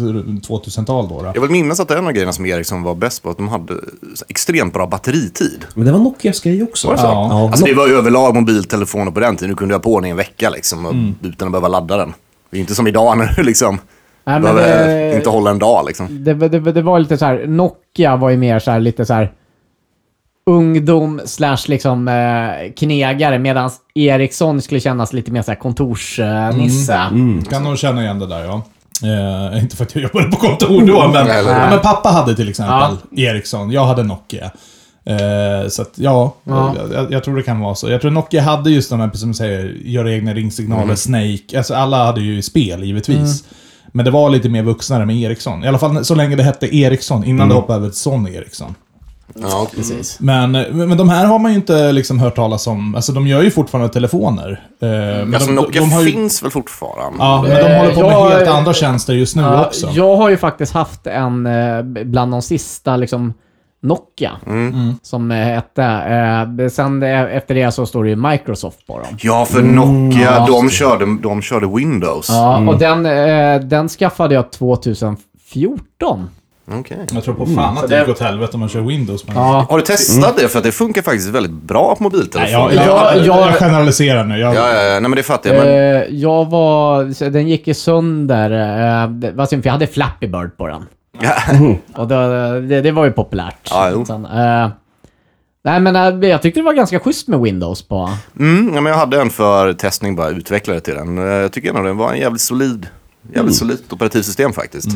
S1: 2000-tal då. då.
S3: Jag vill minnas att en av grejerna som Ericsson var bäst på att de hade så extremt bra batteritid.
S2: Men det var Nokias grej också.
S3: Var det så?
S2: Ja.
S3: Alltså, det var ju överlag mobiltelefoner på den tiden. Du kunde ha på den i en vecka liksom, och-
S4: Mm.
S3: utan att behöva ladda den. Det är inte som idag när du liksom
S4: Nej, men
S3: behöver
S4: det- Mm.
S3: inte hålla en dag. Liksom.
S4: Det, var- det, var- det var lite så här, Nokia var ju mer så här lite så här ungdom slash liksom eh, knegare medan Ericsson skulle kännas lite mer så här kontorsnisse. Eh, nisse.
S1: Kan nog känna igen det där ja. Eh, inte för att jag jobbade på kontor då, men,
S3: Nej, eller-
S1: ja, men pappa hade till exempel Ericsson. Jag hade Nokia. Eh, så att, ja,
S4: Ja.
S1: Jag, jag, jag tror det kan vara så. Jag tror Nokia hade just de här, precis som du säger, göra egna ringsignaler,
S3: Mm.
S1: Snake. Alltså alla hade ju spel, givetvis. Men det var lite mer vuxnare med Ericsson. I alla fall så länge det hette Ericsson, innan
S3: Mm.
S1: det hoppade över till Sony Ericsson.
S3: Ja,
S4: Precis.
S1: Men, men de här har man ju inte liksom hört talas om. Alltså de gör ju fortfarande telefoner. Eh, men
S3: alltså,
S1: de,
S3: Nokia
S1: de, de har ju,
S3: finns väl fortfarande?
S1: Ja, men de
S4: Eh,
S1: håller på med
S4: jag-
S1: helt andra tjänster just nu
S4: Ja,
S1: också.
S4: jag har ju faktiskt haft en eh, bland de sista liksom Nokia som eh, hette. Eh, sen eh, efter det så står det ju Microsoft på dem.
S3: Ja, för Nokia, de, körde, de körde Windows.
S4: Mm. Ja, och den, eh, den skaffade jag 2014.
S3: Okej.
S1: Jag tror
S4: Mm.
S1: på fan att det gick åt helvete om man kör Windows. Men...
S4: Ja.
S3: Har du testat det? För att det funkar faktiskt väldigt bra på
S1: Nej,
S3: mobiltelefoner.
S1: jag, jag,
S4: Ja,
S1: jag,
S4: jag-
S1: generaliserar nu. Jag,
S3: Ja, ja, ja, nej men det fattar jag. Men,
S4: Eh, jag var... så Den gick ju sönder. Eh, det var synd, för jag hade Flappy Bird på den. Och då, det, det var ju populärt.
S3: Ja, jo.
S4: Sen, eh, nej, men eh, jag tyckte det var ganska schysst med Windows på.
S3: mm, ja, men jag hade en för testning, bara utvecklare till den. Eh, Jag tycker ändå den var en jävligt solid, jävligt
S4: Mm.
S3: solidt operativsystem faktiskt.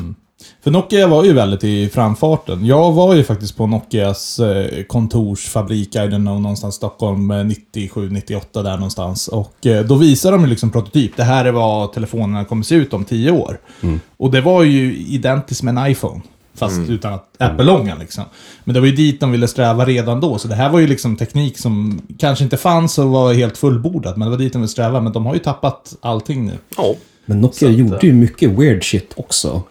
S1: För Nokia var ju väldigt i framfarten. Jag var ju faktiskt på Nokias eh, kontorsfabrik, I don't know, någonstans i Stockholm, eh, 97, 98 där någonstans. Och eh, då visade de ju liksom prototyp. Det här är vad telefonerna kommer se ut om tio år. Och det var ju identiskt med en iPhone. Fast utan att Apple-långan liksom. Men det var ju dit de ville sträva redan då. Så det här var ju liksom teknik som kanske inte fanns och var helt fullbordad. Men det var dit de ville sträva. Men de har ju tappat allting nu.
S3: Ja.
S2: Men Nokia
S1: eh,
S2: gjorde ju mycket weird shit också.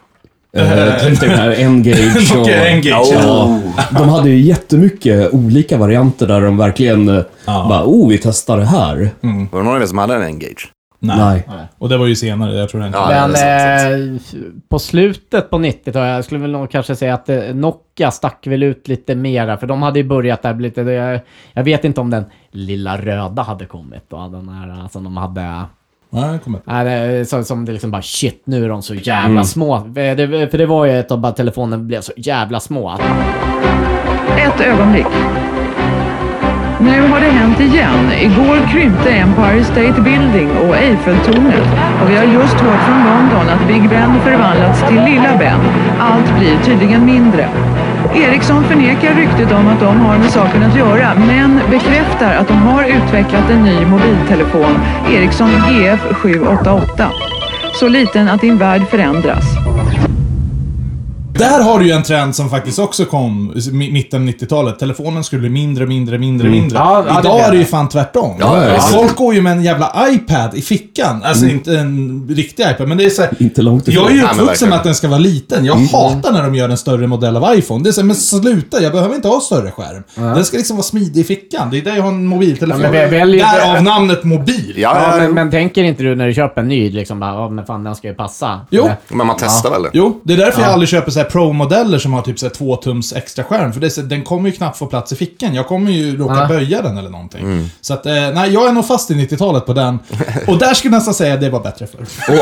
S2: Eh, typ den här N-Gage och...
S1: Nokia N-Gage,
S2: ja. De hade ju jättemycket olika varianter där de verkligen eh, bara, oh, vi testar det här.
S1: Mm.
S3: Var det någon av er som hade en Engage?
S2: Nej.
S1: Och det var ju senare, jag tror den
S3: Ja,
S4: Men
S3: det är
S4: eh, på slutet på 90-talet, jag skulle väl nog kanske säga att eh, Nokia stack väl ut lite mera, för de hade ju börjat där lite. Jag, jag vet inte om den lilla röda hade kommit då, den här eh, som de hade.
S1: Nej, jag kommer.
S4: Nej, det, som, som det liksom bara shit, nu är de så jävla
S3: Mm.
S4: små. Eh, Det, för det var ju ett av bara telefonen blev så jävla små.
S8: Ett ögonblick. Nu har det hänt igen. Igår krympte Empire State Building och Eiffeltornet. Och vi har just hört från London att Big Ben förvandlats till Lilla Ben. Allt blir tydligen mindre. Ericsson förnekar ryktet om att de har med saken att göra men bekräftar att de har utvecklat en ny mobiltelefon, Ericsson GF 788. Så liten att din värld förändras.
S1: Där har du ju en trend som faktiskt också kom i mi- mitten av 90-talet. Telefonen skulle bli mindre, mindre, mindre, mindre.
S4: Ja, ja, det
S1: Idag
S4: blir
S1: är det ju
S4: det.
S1: fan tvärtom.
S3: Ja, ja, ja.
S1: Folk går ju med en jävla iPad i fickan. Alltså inte en riktig iPad, men det är så här,
S2: Inte långt ifrån.
S1: Jag är ju
S3: Nej, men
S1: uppvuxen
S3: verkligen.
S1: med att den ska vara liten. Jag hatar när de gör en större modell av iPhone. Det är så här, men sluta, jag behöver inte ha större skärm. Den ska liksom vara smidig i fickan. Det är där jag har en mobiltelefon.
S4: Ja, men vi väljer-
S1: Därav namnet mobil.
S3: Ja,
S4: Ja,
S3: ja,
S4: men, men tänker inte du när du köper en ny, liksom bara, ja men fan den ska ju passa.
S1: Jo.
S4: Eller-
S3: men man testar väl?
S1: Jo, det är därför jag aldrig köper så här pro-modeller som har typ så här två tums extra skärm. För det är så, den kommer ju knappt få plats i fickan. Jag kommer ju råka
S4: Ja.
S1: böja den eller någonting. Så att, eh, nej, jag är nog fast i 90-talet på den. Och där skulle jag nästan säga att det var bättre för.
S2: Å,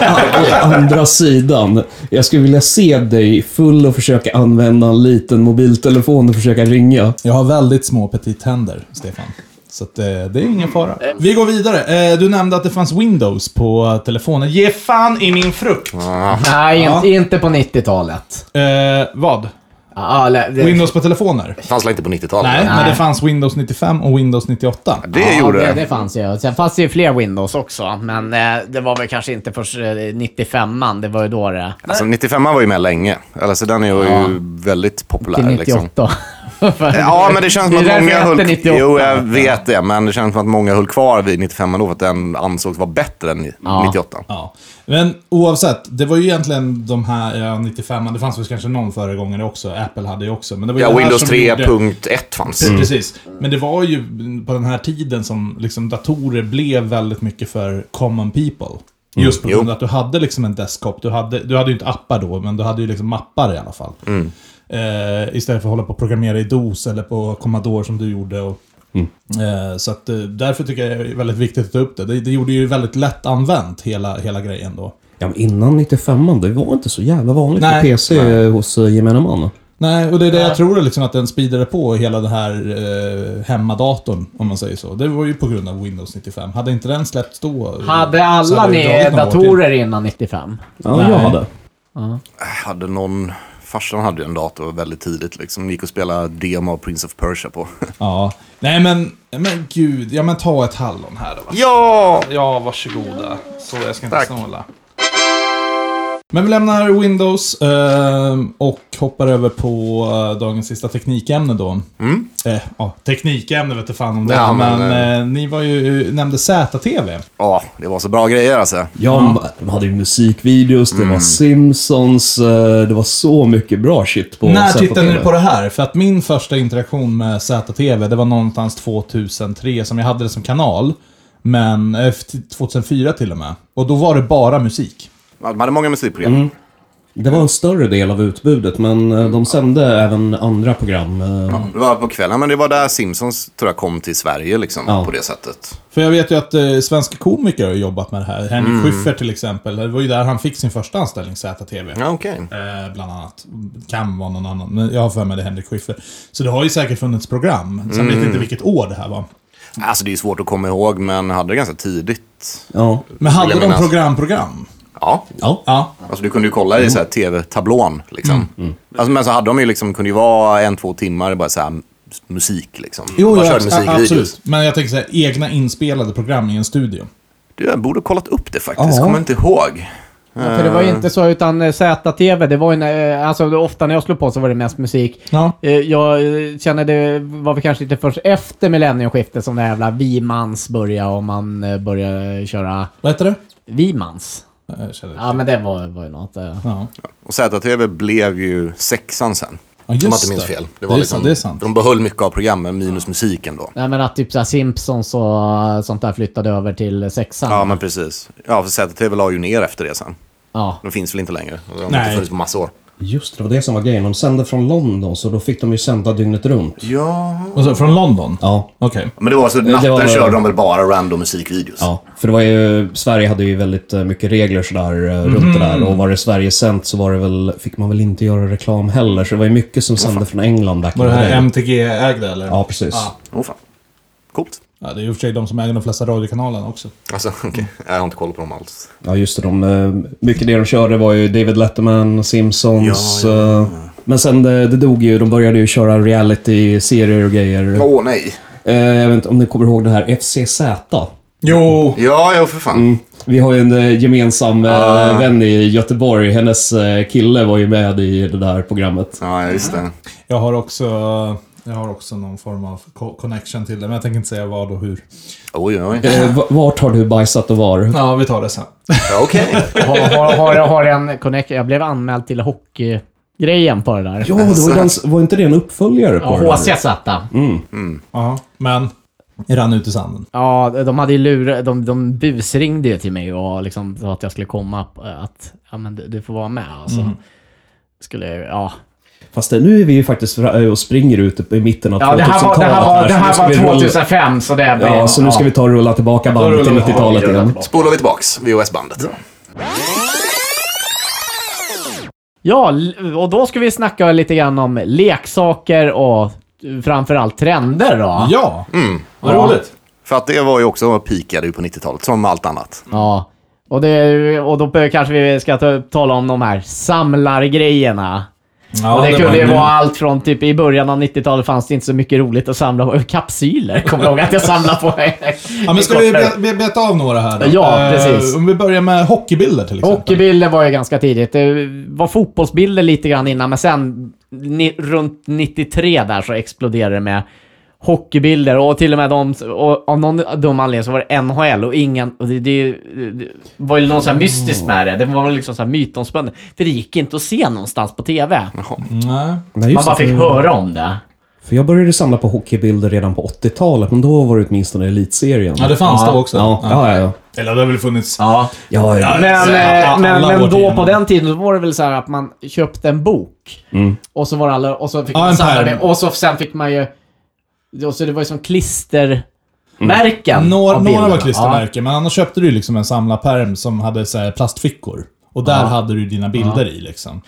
S2: å andra sidan, jag skulle vilja se dig full och försöka använda en liten mobiltelefon och försöka ringa.
S1: Jag har väldigt små petit händer, Stefan. Så att, eh, det är ingen fara. Vi går vidare. Eh, du nämnde att det fanns Windows på telefonen. Ge fan i min frukt!
S4: Nej,
S1: Ja.
S4: inte, inte på 90-talet.
S1: Eh, vad?
S4: Ja, eller- det-
S1: Windows på telefoner?
S3: Det fanns väl inte på 90-talet?
S1: Nej, men det fanns Windows 95 och Windows 98.
S3: Det
S4: ja,
S3: gjorde
S4: det.
S3: det.
S4: Det fanns ju. Sen fanns det ju fler Windows också, men eh, det var väl kanske inte först eh, 95an. Det var ju då det...
S3: Alltså 95 var ju med länge. Alltså den är ju väldigt populär.
S4: Till
S3: Liksom. Eh,
S4: 98.
S3: Ja, men det känns som
S4: Det är
S3: att
S4: därför
S3: många
S4: jag
S3: höll...
S4: hette 98.
S3: Jo, jag vet det. Men det känns som att många höll kvar vid 95 då för att den ansågs vara bättre än
S4: Ja.
S3: 98.
S1: Ja. Men oavsett, det var ju egentligen de här ja, 95 det fanns väl kanske någon föregångare också, Apple hade ju också. Men det var ju
S3: Ja,
S1: det här
S3: Windows
S4: alltså,
S1: som
S3: 3.1 fanns.
S1: Pre- Precis. Men det var ju på den här tiden som liksom, datorer blev väldigt mycket för common people. Just på
S3: Jo.
S1: grund av att du hade liksom en desktop. Du hade, du hade ju inte appar då, men du hade ju liksom mappar i alla fall. Eh, istället för att hålla på och programmera i DOS eller på Commodore som du gjorde. Och, eh, så att, eh, därför tycker jag det är väldigt viktigt att ta upp det. Det, det gjorde ju väldigt lätt använt hela, hela grejen då.
S2: Ja, men innan 95 det var inte så jävla vanligt
S1: Nej.
S2: med PC hos eh, gemene man.
S1: Nej, och det är det jag tror liksom, att den speedade på hela den här eh, hemmadatorn, om man säger så. Det var ju på grund av Windows 95. Hade inte den släppts då... eh,
S4: Hade
S1: så
S4: alla
S1: hade det
S4: ni
S1: dragit några år till.
S4: datorer innan 95?
S2: Ja, jag hade.
S3: hade någon, farsan hade ju en dator väldigt tidigt liksom. Gick och spelade demo av Prince of Persia på.
S1: Ja. Nej men, men gud. Ja men ta ett hallon här då. va?
S3: ja!
S1: Ja, varsågoda. Så jag ska inte
S3: Tack.
S1: snåla. Men vi lämnar Windows eh, och hoppar över på eh, dagens sista teknikämne då. Eh, ja, teknikämne vet du fan om det
S3: Ja,
S1: men,
S3: men,
S1: eh, ni var ju, nämnde ZTV.
S3: Ja, det var så bra grejer alltså.
S2: Ja, ma- de hade ju musikvideos, det var Simpsons, eh, det var så mycket bra shit på
S1: När
S2: ZTV.
S1: tittade ni på det här? För att min första interaktion med ZTV, det var någonstans 2003 som jag hade det som kanal. Men, eh, 2004 till och med. Och då var det bara musik.
S3: Man hade många musikprogram.
S2: Det var en större del av utbudet, men eh, de sände även andra program. eh,
S3: Det var på kvällen, men det var där Simpsons tror jag kom till Sverige liksom,
S2: Ja.
S3: på det sättet.
S1: För jag vet ju att eh, svenska komiker har jobbat med det här. Henrik
S3: Mm.
S1: Schyffert till exempel. Det var ju där han fick sin första anställning, ZTV.
S3: Ja, okej.
S1: Eh, bland annat. Kan vara någon annan, men jag har för mig det är Henrik Schyffert. Så det har ju säkert funnits program. Sen vet
S3: Mm.
S1: jag inte vilket år det här var.
S3: Alltså det är svårt att komma ihåg, men hade det ganska tidigt.
S2: Ja.
S1: Men hade
S3: Vill jag
S1: de
S3: minnas.
S1: programprogram?
S3: Ja,
S2: ja.
S1: Ja.
S3: alltså du kunde ju kolla i så här tv-tablån liksom.
S1: Mm.
S3: Alltså, men så hade de ju liksom, kunde ju vara en, två timmar bara så här musik liksom.
S1: Jo,
S3: Bara
S1: ja, abs-
S3: körde musikvideos.
S1: absolut. Men jag tänker så här, egna inspelade program i en studio.
S3: Du, jag borde ha kollat upp det faktiskt.
S1: Ja.
S3: Kommer inte ihåg.
S4: För det var ju inte så, utan eh, ZTV, det var ju när, eh, alltså det- ofta när jag slog på så var det mest musik.
S1: Ja.
S4: Eh, Jag eh, känner det var väl kanske inte först efter millennieskiftet som det här jävla Vimans började och man eh, började köra
S1: Vad heter det?
S4: Vimans.
S1: Eh, känner jag
S4: Ja men det var, var ju något. eh.
S1: Ja.
S3: Och ZTV blev ju sexan sen.
S1: Ja, just
S3: Om jag inte minns
S1: det.
S3: fel. liksom-
S1: Det är sant, det är sant.
S3: De behöll mycket av programmen, minus musiken då.
S4: Nej men att typ såhär Simpsons och eh, sånt där flyttade över till sexan.
S3: Ja, men precis. Ja, för ZTV la ju ner efter det sen.
S4: Ja.
S3: De finns väl inte längre? De har
S1: Nej.
S3: inte funnits på massa år.
S2: Just det, det var det som var grejen. De sände från London, så då fick de ju sända dygnet runt.
S3: Ja.
S1: Och så, från London?
S2: Ja.
S1: Okej.
S3: Men det var så,
S2: Det
S3: natten
S2: var-
S3: körde de väl bara random musikvideos?
S2: Ja, för det var ju, Sverige hade ju väldigt eh, mycket regler sådär eh, runt det
S1: Mhm.
S2: där. Och var det Sverige sänt så var det väl, fick man väl inte göra reklam heller. Så det var ju mycket som sände från England back in
S1: Var det
S2: the
S1: här
S2: day.
S1: MTG-ägda eller?
S2: Ja, precis.
S1: Ja.
S3: Åh fan. Coolt.
S1: Ja, det är ju i och för sig de som äger de flesta radiokanalerna också.
S3: Alltså, okej. Jag har inte koll på dem alls.
S2: Ja, just det. De, eh, mycket det de körde var ju David Letterman, Simpsons.
S3: Ja, ja, ja.
S2: eh, Men sen det, det dog ju. De började ju köra reality-serier och grejer.
S3: Åh nej.
S2: Eh, jag vet inte om ni kommer ihåg det här FCZ?
S1: Jo!
S3: Ja, ja för fan.
S2: Vi har ju en eh, gemensam eh, vän i Göteborg. Hennes eh, kille var ju med i det där programmet.
S3: Ja, just det.
S1: Jag har också... Jag har också någon form av co- connection till det, men jag tänker inte säga vad och hur.
S3: Oj, oj, oj.
S2: Eh, v- vart har du bajsat och var?
S1: Ja, vi tar det sen.
S3: Ja, Okej.
S4: Har, har, har, har en connect, jag blev anmäld till hockeygrejen på det där.
S2: Ja, det var, ju den, var inte det en uppföljare på
S4: Ja,
S2: det
S4: HC
S2: där?
S4: satt där.
S1: Ja, men... Rann ut i sanden.
S4: Ja, de hade ju lurat, de, de busringde ju till mig och liksom sa att jag skulle komma, eh, att ja men du, du får vara med. Och så skulle jag, ja.
S2: Fast det, nu är vi ju faktiskt fra- och springer ut i mitten av 2000-talet. här, så nu ska vi rulla-
S4: 2005 så det
S2: Ja, så nu ska vi ta och rulla tillbaka bandet till
S1: rullar vi
S2: 90-talet
S1: tillbaka.
S2: igen.
S3: Spolar vi tillbaks, VHS-bandet.
S4: Ja, l- och då ska vi snacka lite grann om leksaker och eh, framförallt trender då.
S1: Ja! Mm. Vad
S4: Ja.
S1: roligt!
S3: För att det var ju också, pikade ju på 90-talet, som allt annat.
S4: Ja. Och, det, och då bör- kanske vi ska ta, tala om de här samlargrejerna.
S1: Ja,
S4: och det,
S1: var
S4: kunde ju
S1: kul.
S4: vara allt från typ i början av 90-talet fanns det inte så mycket roligt att samla på. Kapsyler kommer jag ihåg att jag samlade på.
S1: Ja, men ska vi be- be- beta av några här då?
S4: Ja,
S1: Eh,
S4: precis.
S1: Om vi börjar med hockeybilder till exempel.
S4: Hockeybilder var ju ganska tidigt. Det var fotbollsbilder lite grann innan, men sen ni, runt 93 där så exploderade det med hockeybilder och till och med de, och av någon dum anledning så var det NHL och ingen, och det, det, det var ju något så här mystiskt med det. Det var väl liksom så här mytomspunnet. För det gick inte att se någonstans på TV.
S1: Nej.
S2: Nej,
S4: Man
S2: just
S4: bara
S2: det,
S4: fick
S2: för-
S4: höra om det.
S2: För jag började samla på hockeybilder redan på 80-talet, men då var det åtminstone elitserien.
S1: Ja, det fanns
S4: Ja.
S1: det också.
S2: Ja, ja, ja. ja.
S1: Eller det har väl funnits...
S4: Ja.
S2: ja, ja.
S4: Men,
S1: Så
S4: eh,
S1: Alltså, alla-
S4: men,
S1: alla
S4: men då
S1: årtionden.
S4: på den tiden så var det väl så här att man köpte en bok. Och så var alla, och så fick
S1: Mm. Ja,
S4: man
S1: en
S4: samla
S1: pärm.
S4: det. Och så sen fick man ju, och så det var ju som klistermärken.
S1: Mm. Några, några
S4: av
S1: var
S4: bilderna.
S1: klistermärken, men annars köpte du ju liksom en samlarpärm som hade så här plastfickor. Och där hade du dina bilder i liksom.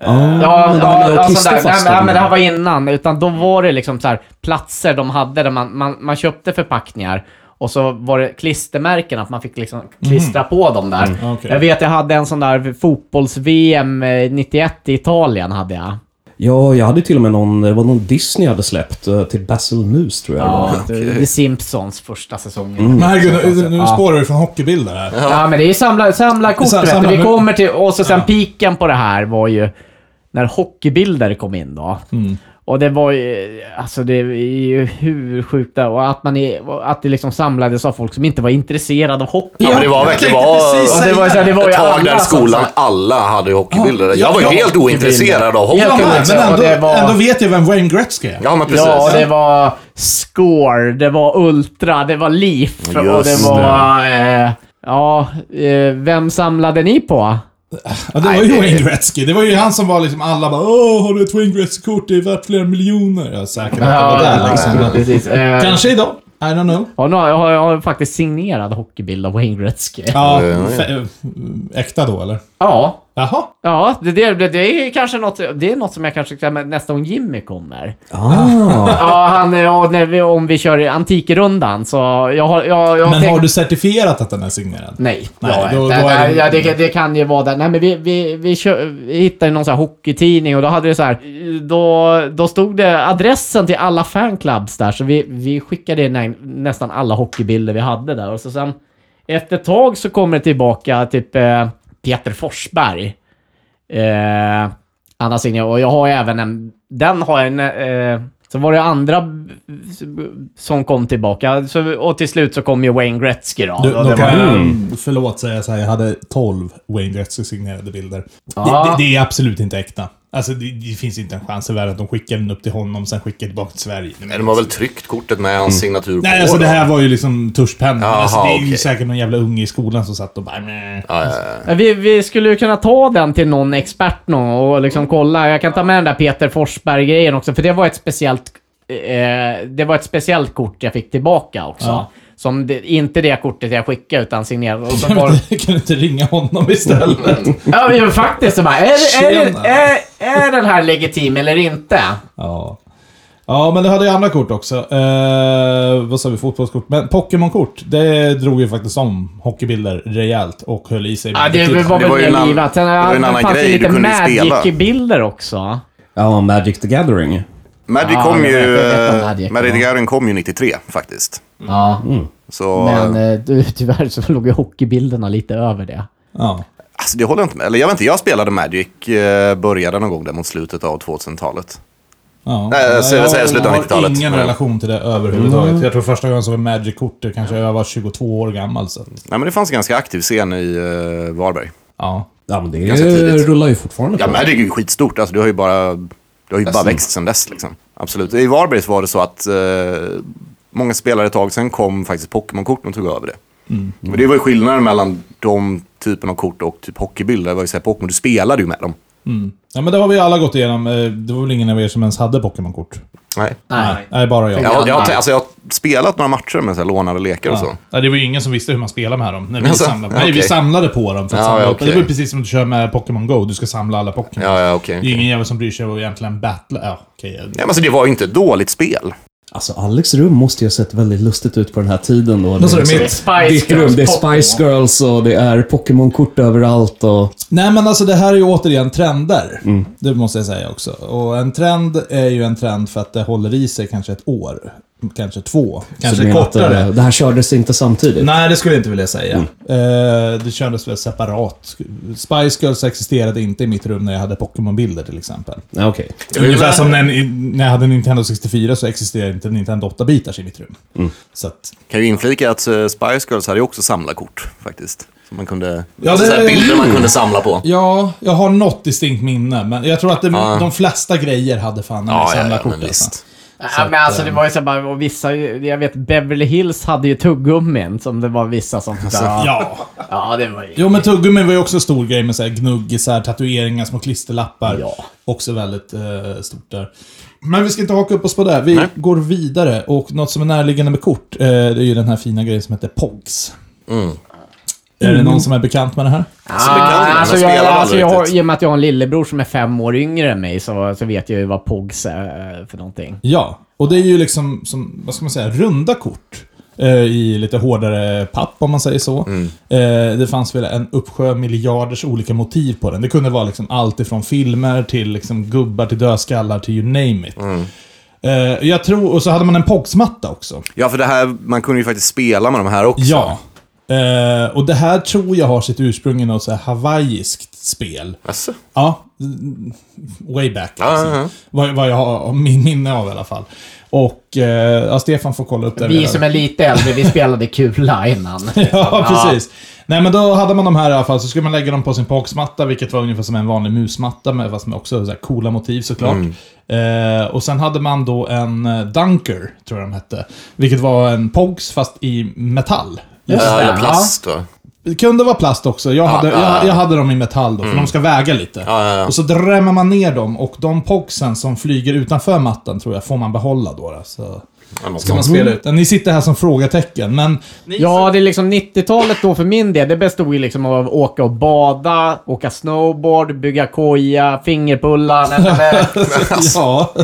S4: Ja, ja,
S2: men de
S4: ja,
S2: hade
S4: ja sånt där.
S2: klisterfasta
S4: Nej, men, nej, men det här
S2: bilder.
S4: var innan. Utan då var det liksom så här platser de hade där man, man, man köpte förpackningar. Och så var det klistermärken, att man fick liksom klistra på dem där.
S1: Mm. okej.
S4: Jag vet, jag hade en sån där fotbolls-VM eh, 91 i Italien hade jag.
S2: Ja, jag hade till och med någon, det var någon Disney hade släppt eh, till Basil Moose tror jag. det var.
S4: Ja, The Simpsons första säsongen.
S1: Men herregud, nu, nu spårar vi från hockeybilder här.
S4: Ja. men det är ju samla, samla kort
S1: Sa-
S4: vet
S1: samla-
S4: du. Vi kommer till... Och så sen piken på det här var ju när hockeybilder kom in då. Och det var ju... Alltså det är ju hur sjukt det Och att man är, Att det liksom samlades av folk som inte var intresserade av hockey.
S3: Ja, men det var
S1: jag
S3: verkligen
S1: tänkte precis
S3: var,
S1: säga
S4: det var ju så här, det var ju
S3: ett tag
S4: alla
S3: där i
S4: som
S3: skolan,
S4: sagt.
S3: alla hade ju hockeybilder.
S1: Ja,
S3: jag var ju
S1: ja,
S3: helt ointresserad av
S1: Ja,
S3: hockey.
S1: men,
S4: Ja,
S1: men ändå,
S4: det var-
S1: ändå vet jag vem Wayne Gretzky är.
S3: Ja, men precis.
S4: Ja, det var score, det var ultra, det var leaf och det
S3: Just
S4: var... Eh, ja, eh, vem samlade ni på?
S1: Ja, det var ju Wayne Gretzky. Det var ju han som var liksom alla bara Åh, har du ett Wayne Gretzky-kort? Det är värt flera miljoner. Jag är säker på att det var där liksom. Men-
S4: precis. Eh,
S1: Kanske idag. I don't know.
S4: ja, nu har jag, har, jag har faktiskt signerad hockeybild av Wayne Gretzky.
S1: Ja,
S3: ja.
S1: fe- eh, äkta då eller?
S4: Ja,
S1: Jaha.
S4: Ja, det, det, det, det är kanske något, det är något som jag kanske ska med nästa gång Jimmy kommer.
S2: Ah.
S4: Ja, han, ja när vi, om vi kör antikrundan så jag har... Jag, jag
S1: Men
S4: tänkt-
S1: har du certifierat att den är signerad?
S4: Nej,
S1: Nej,
S4: ja,
S1: då-
S4: det,
S1: då är
S4: det,
S1: det-
S4: ja, det, det kan ju vara där. Nej, men vi, vi, vi, kör, vi hittade någon sån här hockeytidning och då hade det så här... Då, då stod det adressen till alla fanclubs där, så vi, vi skickade in nä, nästan alla hockeybilder vi hade där. Och så sen... Efter ett tag så kommer det tillbaka typ eh, Peter Forsberg. Eh, Anna Signe, och jag har även en... Den har jag en... Eh, så var det andra b- som kom tillbaka. Så, och till slut så kom ju Wayne Gretzky då.
S1: Du,
S4: Och
S1: då
S4: det var-
S1: kan jag, förlåt säga så här, jag hade 12 Wayne Gretzky signerade bilder. Det,
S4: Ja.
S1: det, det är absolut inte äkta. Alltså det, det finns inte en chans i världen att de skickar den upp till honom, sen skickar tillbaka till Sverige.
S3: Men de har väl tryckt kortet med hans signatur på
S1: Nej, alltså
S3: då?
S1: det här var ju liksom tuschpennan.
S3: Jaha,
S1: Alltså, det är ju
S3: okej.
S1: säkert någon jävla unge i skolan som satt och bara "Meh."
S3: Ja, ja, ja.
S4: Men Eh, Vi, vi skulle ju kunna ta den till någon expert någon och liksom kolla. Jag kan ta med den där Peter Forsberg-grejen också, för det var ett speciellt... Eh, det var ett speciellt kort jag fick tillbaka också. Som det, inte det kortet jag skickade, utan signerat. Och så var,
S1: Kan du inte ringa honom istället?
S4: ja, men faktiskt. Så bara, är, är,
S1: Tjena.
S4: är, är, är den här legitim eller inte?
S1: ja. Ja, men det hade ju andra kort också. Eh, vad sa vi? Fotbollskort? Men Pokémon-kort, det drog ju faktiskt om hockeybilder rejält och höll i sig.
S4: Ja, det
S1: betydligt.
S4: var
S3: Det var
S4: väl
S3: ju en
S4: mer
S3: annan-
S4: givet. Sen
S3: det var ju en annan
S4: fanns det
S3: grej,
S4: lite
S3: du kunde ju spela.
S4: Magic-bilder också.
S2: ja, Magic the Gathering.
S3: Magic
S4: Ja,
S3: kom
S4: jag vet,
S3: ju...
S4: jag vet vad Magic
S3: eh, Magic
S4: var.
S3: the Gathering kom ju 93 faktiskt.
S4: Ja,
S3: Mm. Så...
S4: men eh, du, tyvärr så låg ju hockeybilderna lite över det.
S1: Ja.
S3: Alltså det håller jag inte med. Eller jag vet inte, jag spelade Magic, eh, började någon gång där mot slutet av 2000-talet.
S1: Ja.
S3: Nej, jag säger- jag säger slutet av
S1: Jag har
S3: 90-talet.
S1: ingen
S3: Men-
S1: relation till det överhuvudtaget.
S4: Mm.
S1: Jag tror första gången som var Magic-kort, det kanske jag var 22 år gammal. Så. att-
S3: Nej men det fanns en ganska aktiv scen i eh, Varberg.
S1: Ja.
S2: Ja, men det
S3: Ganska tidigt.
S2: rullar ju fortfarande
S3: Ja
S2: på.
S3: Magic är ju skitstort, alltså det har ju bara, det har ju bara växt sedan dess liksom. Absolut. I Varberg så var det så att eh, många spelare ett tag sen kom faktiskt Pokémon-korten och tog över det.
S4: Mm.
S3: Men det var ju skillnaden mellan de typen av kort och typ hockeybilder. Det var ju såhär, Pokémon, du spelade ju med dem.
S1: ja, men det har vi alla gått igenom. Eh, Det var väl ingen av er som ens hade Pokémon-kort?
S3: Nej.
S1: Nej. Nej, bara jag.
S3: Jag, har- jag, har, alltså, jag har spelat några matcher med så här, lånade lekar och så.
S1: Ja, det var ju ingen som visste hur man spelar med dem. När vi,
S3: Alltså,
S1: samlade, nej, vi
S3: okej.
S1: samlade på dem. För att
S3: Ja,
S1: samla
S3: ja,
S1: upp.
S3: okej.
S1: Det var ju precis som att du kör med Pokémon Go. Du ska samla alla Pokémon.
S3: Ja, ja, okej.
S1: Det är ju ingen jävel som bryr sig om egentligen battla. Ja, okej.
S3: Ja, men alltså, det var ju inte ett dåligt spel.
S2: Alltså, Alex rum måste ju ha sett väldigt lustigt ut på den här tiden då.
S1: Vad sa du,
S2: liksom-
S1: mitt?
S4: Spice
S2: Ditt rum, det är
S4: Pokémon.
S2: Spice Girls och det är Pokémon-kort överallt och...
S1: Nej, men alltså det här är ju återigen trender.
S2: Mm.
S1: Det måste jag säga också. Och en trend är ju en trend för att det håller i sig kanske ett år. Kanske två.
S2: Så
S1: Kanske
S2: du menar att,
S1: kortare.
S2: eh, Det här Mm. kördes inte samtidigt?
S1: Nej, det skulle jag inte vilja säga. Eh, det kändes väl separat. Spice Girls existerade inte i mitt rum när jag hade Pokémon-bilder till exempel.
S2: Nej. Okej.
S1: Ungefär som när, när jag hade Nintendo 64 så existerade inte Nintendo 8-bitars i mitt rum.
S2: Mm.
S1: Så att,
S3: Kan ju inflika att eh, Spice Girls hade ju också samlarkort faktiskt. Som man kunde...
S1: Ja,
S3: alltså,
S1: det- Mm.
S3: så här, bilder man kunde samla på.
S1: ja, jag har något distinkt minne, men jag tror att det, de flesta grejer hade fan när jag samlade kort.
S3: men
S1: alltså.
S3: visst.
S4: Ja, men alltså det var ju så här bara, och vissa, jag vet Beverly Hills hade ju tuggummin som det var vissa som tyckte, ja.
S1: Ja.
S4: ja det var ju...
S1: Jo, men tuggummi var ju också en stor grej med så här gnuggisar, tatueringar, små klisterlappar.
S4: Ja.
S1: Också väldigt eh, stort där. Men vi ska inte haka upp oss på det. Vi
S3: Nej.
S1: går vidare. Och något som är närliggande med kort, eh, det är ju den här fina grejen som heter POGS.
S3: Mm.
S1: Är det
S4: Mm.
S1: någon som är bekant med det här?
S3: Så det kan man, man
S4: alltså,
S3: spelar
S4: jag,
S3: aldrig
S4: alltså jag har,
S3: riktigt.
S4: I och med att jag har en lillebror som är fem år yngre än mig så, så vet jag ju vad POGS är eh, för någonting.
S1: Ja, och det är ju liksom, som, vad ska man säga, runda kort. eh, i lite hårdare papp om man säger så. Eh, det fanns väl en uppsjö miljarders olika motiv på den. Det kunde vara liksom allt ifrån filmer till liksom gubbar till dödskallar till you name it. Eh, jag tror, och så hade man en pogsmatta också.
S3: Ja, för det här, man kunde ju faktiskt spela med de här också.
S1: Ja. Eh, och det här tror jag har sitt ursprung i något så här hawaiiskt spel.
S3: Asså?
S1: Ja, mm, way back alltså.
S3: ja, ja.
S1: Vad, vad jag har min minne av i alla fall. Och eh, ja, Stefan får kolla upp det.
S4: Vi som är lite äldre, vi spelade kula innan.
S1: Ja, precis. Nej, men då hade man de här i alla fall, så skulle man lägga dem på sin pogsmatta, vilket var ungefär som en vanlig musmatta, med, fast med också så här coola motiv såklart.
S3: Mm.
S1: Eh, och sen hade man då en eh, dunker, tror jag de hette, vilket var en pogs fast i metall.
S3: Ja, ja, plast va?
S1: Det kunde vara plast också. Jag hade, jag, jag hade dem i metall då, för de ska väga lite.
S3: ja, ja.
S1: Och så drämmer man ner dem och de pogsen som flyger utanför mattan tror jag får man behålla då. då så.
S3: Ja, något
S1: Ska man
S3: sånt.
S1: spela ut den? Ni sitter här som frågetecken, men...
S4: Ja, det är liksom 90-talet då för min del. Det bestod ju liksom av att åka och bada, åka snowboard, bygga koja, fingerpullar. nej, nej, nej.
S1: ja,